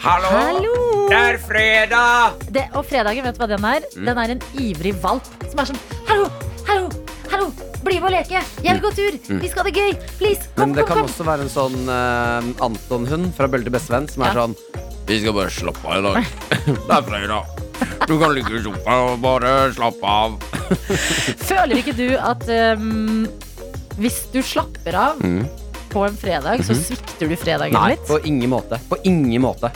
Hallo,
Hallo!
Det er fredag
det, Og fredagen, vet du hva den er?
Mm.
Den er en ivrig valp som er sånn Hallo, hallo, hallo! Bli med og leke! Jeg vil gå tur!
Mm.
Vi skal ha det gøy! Please! Kom,
Men det kan
kom, kom!
også være en sånn eh, Anton-hund fra Bølle til Bestevenn Som er
Ja.
sånn Vi skal bare slappe av i dag Det er fredag Du kan ligge i sofaen og bare slappe av
Føler ikke du at um, hvis du slapper av
Mm. Mhm.
på en fredag, så svikter du fredagen
Nei,
litt?
på ingen måte. På ingen måte.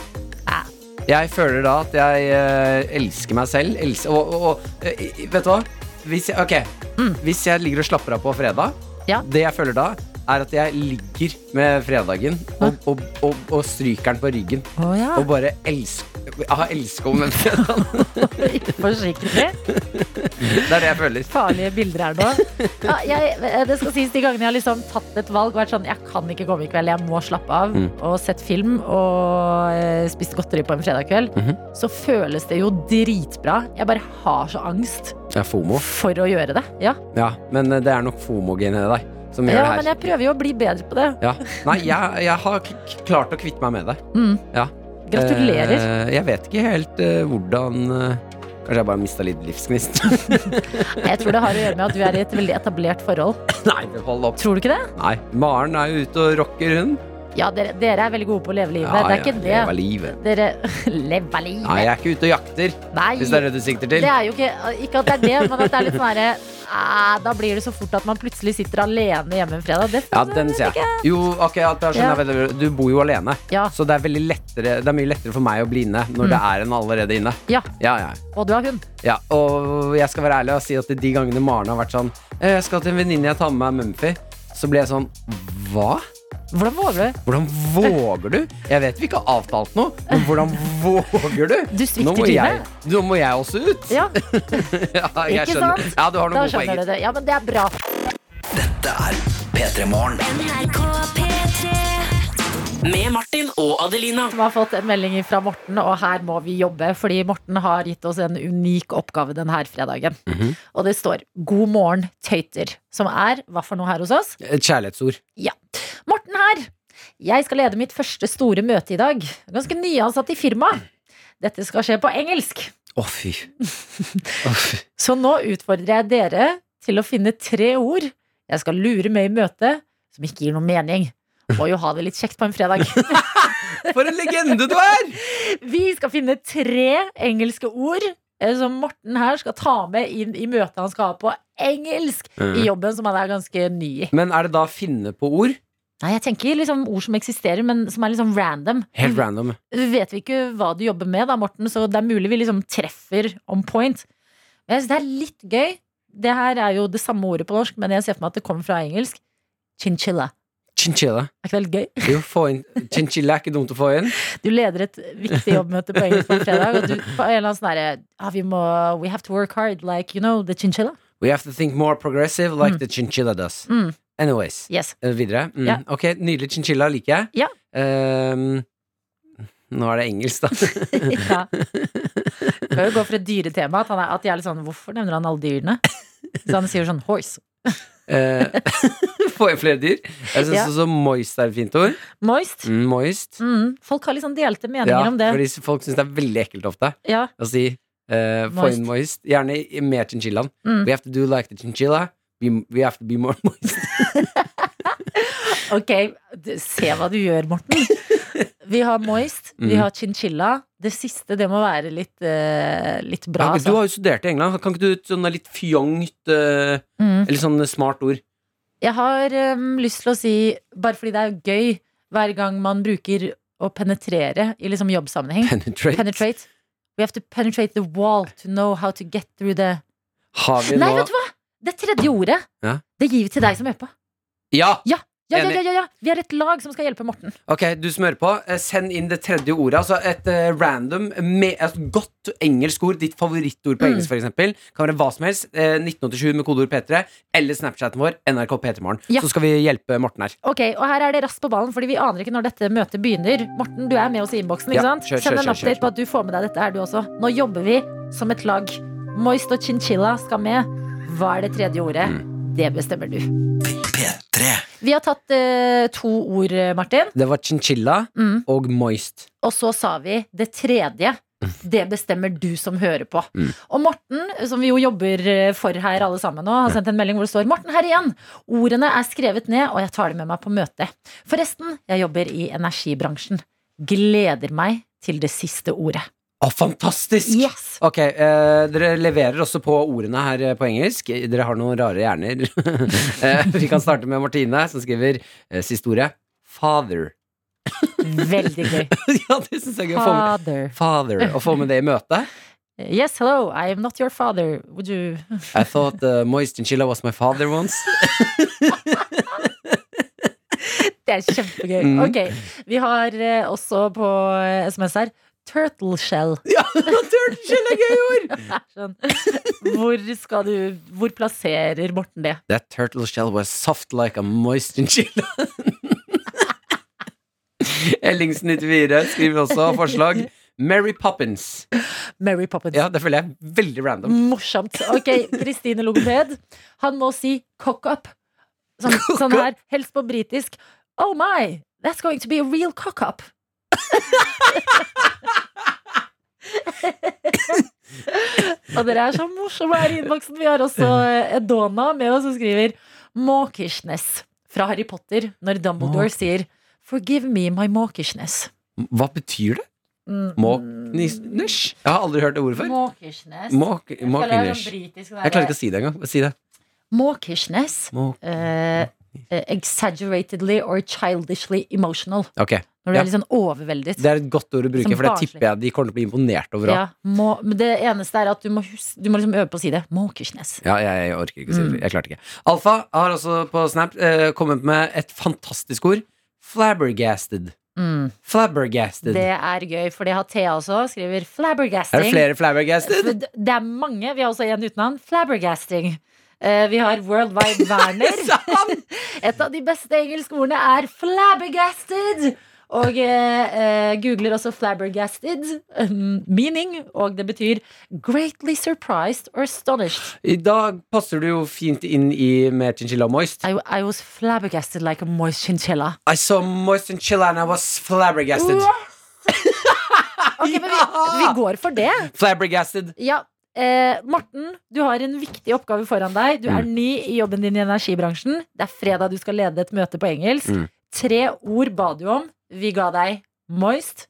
Ah.
Jeg føler da at jeg eh, elsker meg selv. Elsker, og, og, og eh, vet du hva? Hvis jeg, ok, hvis jeg ligger og slapper av på fredag,
Mm. Ja.
det jeg føler da, er at jeg ligger med fredagen og, og, og, og stryker den på ryggen.
Å ja.
Og bare elsker Jeg elsker om den fredagen.
Forsiktig.
Det er det jeg føler.
farlige bilder her nå. Ja, jeg, eh, det skal sies De gangene jeg har liksom tatt et valg og vært sånn Jeg kan ikke komme i kveld, jeg må slappe av.
Mm.
Og sett film og eh, spist godteri på en fredag kveld.
Mhm.
Så føles det jo dritbra. Jeg bare har så angst
Jeg er fomo.
for å gjøre det. Ja,
Ja, men eh, det er nok fomogenet i deg som gjør
ja
det her.
men jeg prøver jo å bli bedre på det.
Ja. Nei, jeg, jeg har k k- klart å kvitte meg med det.
Mm.
Ja.
Gratulerer.
Eh, jeg vet ikke helt eh, hvordan eh, Kanskje jeg bare mista litt livsgnist.
Jeg tror det har å gjøre med at du er i et veldig etablert forhold.
Nei, det holder opp.
Tror du ikke det?
Nei, Maren er jo ute og rocker, hun.
Ja, dere, dere er veldig gode på å leve livet.
Ja,
det er
ja,
ikke
leva
det.
livet.
Dere Leva livet.
Nei, jeg er ikke ute og jakter,
Nei.
hvis det er det du sikter til.
Det er jo ikke, eh, ikke at det er det, men at det er litt sånn herre ah, Da blir det så fort at man plutselig sitter alene hjemme en fredag. Det,
Ja, den ser jeg. Jo, ok, at jeg skjønner, jeg vet- du bor jo alene,
Ja. Mm.
så det er, veldig lettere, det er mye lettere for meg å bli inne når det er en allerede inne.
Ja,
Ja, ja.
og du har hund.
Ja, og jeg skal være ærlig og si at de gangene Maren har vært sånn «Eh, Jeg skal til en venninne jeg tar med meg Mumphy Så ble jeg sånn, hva?
Hvordan våger du?
Hvordan våger du? Jeg vet vi ikke har avtalt noe Men hvordan våger du?
Du svikter
nå må, jeg,
dine.
nå må jeg også ut
Ja,
ja, jeg
Ikke
skjønner.
sant?
Ja, du har
da
noen gode
skjønner
poenger
du det. Ja, men det er bra.
P3-morgen. Med Martin og Adelina.
Vi har fått en melding fra Morten, og her må vi jobbe. Fordi Morten har gitt oss en unik oppgave denne fredagen.
Mhm.
Og det står 'God morgen, tøyter', som er hva for noe her hos oss?
Et kjærlighetsord
Morten her! Jeg skal lede mitt første store møte i dag. Ganske nyansatt i firmaet. Dette skal skje på engelsk.
Å, fy.
Så nå utfordrer jeg dere til å finne tre ord jeg skal lure med i møte, som ikke gir noe mening. Må jo ha det litt kjekt på en fredag.
For en legende du er!
Vi skal finne tre engelske ord eh, som Morten her skal ta med inn i møtet han skal ha på engelsk
Mhm.
i jobben som han er ganske ny i.
Men er det da finne på ord?
Nei, jeg tenker liksom ord som eksisterer, men som er liksom random.
Helt random.
vet vi ikke hva du jobber med, da, Morten, så det er mulig vi liksom treffer on point. Men jeg synes det er litt gøy. Det her er jo det samme ordet på norsk, men jeg ser for meg at det kommer fra engelsk. Chinchilla.
Chinchilla.
Er ikke det litt gøy?
Jo, få inn. Chinchilla er ikke dumt å få inn.
Du leder et viktig jobbmøte på engelsk på fredag, og du på en eller annen sånn herre ah, vi må, We have to work hard, like you know, the chinchilla.
We have to think more progressive like the chinchilla does.
Mm.
Anyways.
Yes.
Eh, Videre. Mm.
Ja.
Ok, nydelig chinchilla liker jeg.
Ja.
Ehm, nå er det engelsk, da.
Ja. Skal jo gå for et dyretema. At, han er, at jeg er litt sånn Hvorfor nevner han alle dyrene? Så han sier sånn horse.
Eh, Få inn flere dyr. Jeg syns
Ja.
også moist er et fint ord.
Moist.
Mm, moist.
Mm, folk har litt sånn delte meninger
Ja,
om det.
fordi folk syns det er veldig ekkelt ofte
Ja.
å si eh, få inn moist. Gjerne i- mer chinchillaen.
Mm.
We have to do like the chinchilla. We, we have to be more moist.
Ok, d- se hva du gjør, Morten. Vi har moist, vi
Mm.
har chinchilla. Det siste, det må være litt, eh, litt bra.
Kan ikke- Du
Altså.
har jo studert i England. Kan ikke du et sånn litt fjongt eh,
Mm.
Eller sånn smart ord?
Jeg har em, lyst til å si, bare fordi det er gøy hver gang man bruker å penetrere i liksom jobbsammenheng
Penetrate.
Penetrate. We have to penetrate the wall to know how to get through the
Har vi
Nei,
nå
vet du hva! Det tredje ordet,
Ja.
det gir vi til deg som hører på.
Ja!
Ja, ja,
Enig.
ja, ja, ja. Vi er et lag som skal hjelpe Morten.
Ok, du smører på. Eh, Send inn det tredje ordet. Altså et eh, random, me- et godt engelsk ord. Ditt
Mm.
favorittord på engelsk, for eksempel Kan være hva som helst. Eh, 1987 med kodeord P3. Eller Snapchaten vår, NRK P3morgen.
Ja.
Så skal vi hjelpe Morten her.
Ok, og her er det raskt på ballen, fordi vi aner ikke når dette møtet begynner. Morten, du er med oss i innboksen, ikke
Ja,
sant?
kjør, kjør,
Send en
kjør,
update
kjør.
på at du får med deg dette her, du også. Nå jobber vi som et lag. Moist og chinchilla skal med. Hva er det tredje ordet?
Mm.
Det bestemmer du. Vi har tatt eh, to ord, Martin,
Det var chinchilla
Mm.
og moist.
og så sa vi det tredje. Det bestemmer du som hører på. Og Morten, som vi jo jobber eh, for her alle sammen nå, har sendt en melding hvor det står Morten her igjen. Ordene er skrevet ned, og jeg tar det med meg på møtet. Forresten, jeg jobber i energibransjen. Gleder meg til det siste ordet.
Å, fantastisk!
Yes!
Ok, eh, Dere leverer også på ordene her eh, på engelsk. Dere har noen rare hjerner. Eh, vi kan starte med Martine, som skriver uh, siste ordet. Father.
Veldig gøy.
ja, det syns jeg er gøy. å få med-
Father.
Father. Å få med det i møtet.
Yes, hello, I am not your father. Would you
I thought uh, moist chinchilla was my father once.
Det er kjempegøy.
Mm.
Ok, Vi har eh, også på eh, SMS her Turtle shell.
ja, turtleshell er gøy ord!
Sånn. Hvor, skal du, hvor plasserer Morten det?
That turtle shell was soft like a moist chinchilla. Ellingsen94 skriver også forslag. Mary Poppins.
Mary Poppins.
Ja, det føler jeg er veldig random.
Morsomt. Ok, Kristine logoped. Han må si cock up. Sånn, sånn her. Helst på britisk. Oh my, that's going to be a real cock up. Og dere er så morsomme her i innboksen. Vi har også eh, Edona med oss som skriver Mawkishness fra Harry Potter når Dumbledore sier Forgive me my mawkishness.
Hva betyr det?
Mm.
Måknisnish? Jeg har aldri hørt det ordet før.
Mawkishness.
Måk-
Jeg føler det er sånn
Måknish.
britisk, sånn
Jeg klarer
der-
ikke å si det engang. Si det.
Mawkishness.
Måk-
eh, eh, exaggeratedly or childishly emotional.
Ok.
Når du
Ja.
er litt sånn overveldet.
Det er et godt ord å bruke,
Som
for det
barnslig.
tipper jeg de kommer til å bli imponert over.
ja,
også.
må, men det eneste er at du må, hus- du må liksom øve på å si det. Mawkishness.
Ja, jeg, jeg orker ikke å si
Mm.
det. Jeg klarte ikke. Alfa har også på Snap eh, kommet med et fantastisk ord. Flabbergasted.
Mm.
Flabbergasted.
Det er gøy, for det har Thea også. Skriver flabbergasting.
Er det flere flabbergasted?
Det det er mange. Vi har også en uten navn. Flabbergasting. Eh, vi har Worldwide Werner. Et av de beste engelske ordene er flabbergasted. Og eh, eh, googler også 'flabbergasted' eh, meaning, og det betyr 'greatly surprised or astonished'.
I dag passer du jo fint inn i med Chinchilla Moist.
I, I was flabbergasted like a moist chinchilla.
I saw Moist Chinchilla and I was flabbergasted.
Ok, men vi, vi går for det.
Flabbergasted.
Ja. Eh, Morten, du har en viktig oppgave foran deg. Du
Mm.
er ny i jobben din i energibransjen. Det er fredag du skal lede et møte på engelsk.
Mm.
Tre ord ba du om. Vi ga deg moist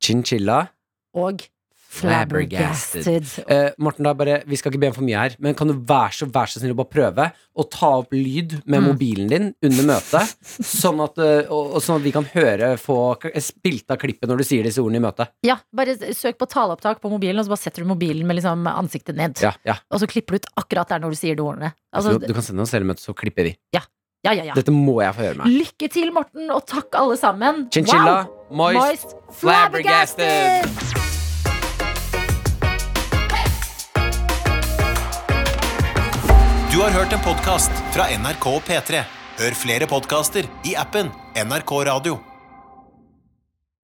Chinchilla.
og flabbergasted.
Eh, Morten, da bare, vi skal ikke be om for mye her, men kan du være så, vær så snill å bare prøve å ta opp lyd med
Mm.
mobilen din under møtet, sånn at, eh, og, og sånn at vi kan høre få k- eh, spilt av klippet når du sier disse ordene i møtet?
Ja, bare søk på taleopptak på mobilen, og så bare setter du mobilen med liksom ansiktet ned.
Ja, ja.
Og så klipper du ut akkurat der når du sier de ordene.
Så
Altså,
du, du kan sende oss hele møtet, så klipper vi.
ja, ja, ja.
Dette må jeg få høre med.
Lykke til, Morten, og takk alle sammen.
Chinchilla,
wow.
moist, flabbergasted.
flabbergasted.
Du har hørt en podcast fra NRK P3. Hør flere podcaster i appen NRK Radio.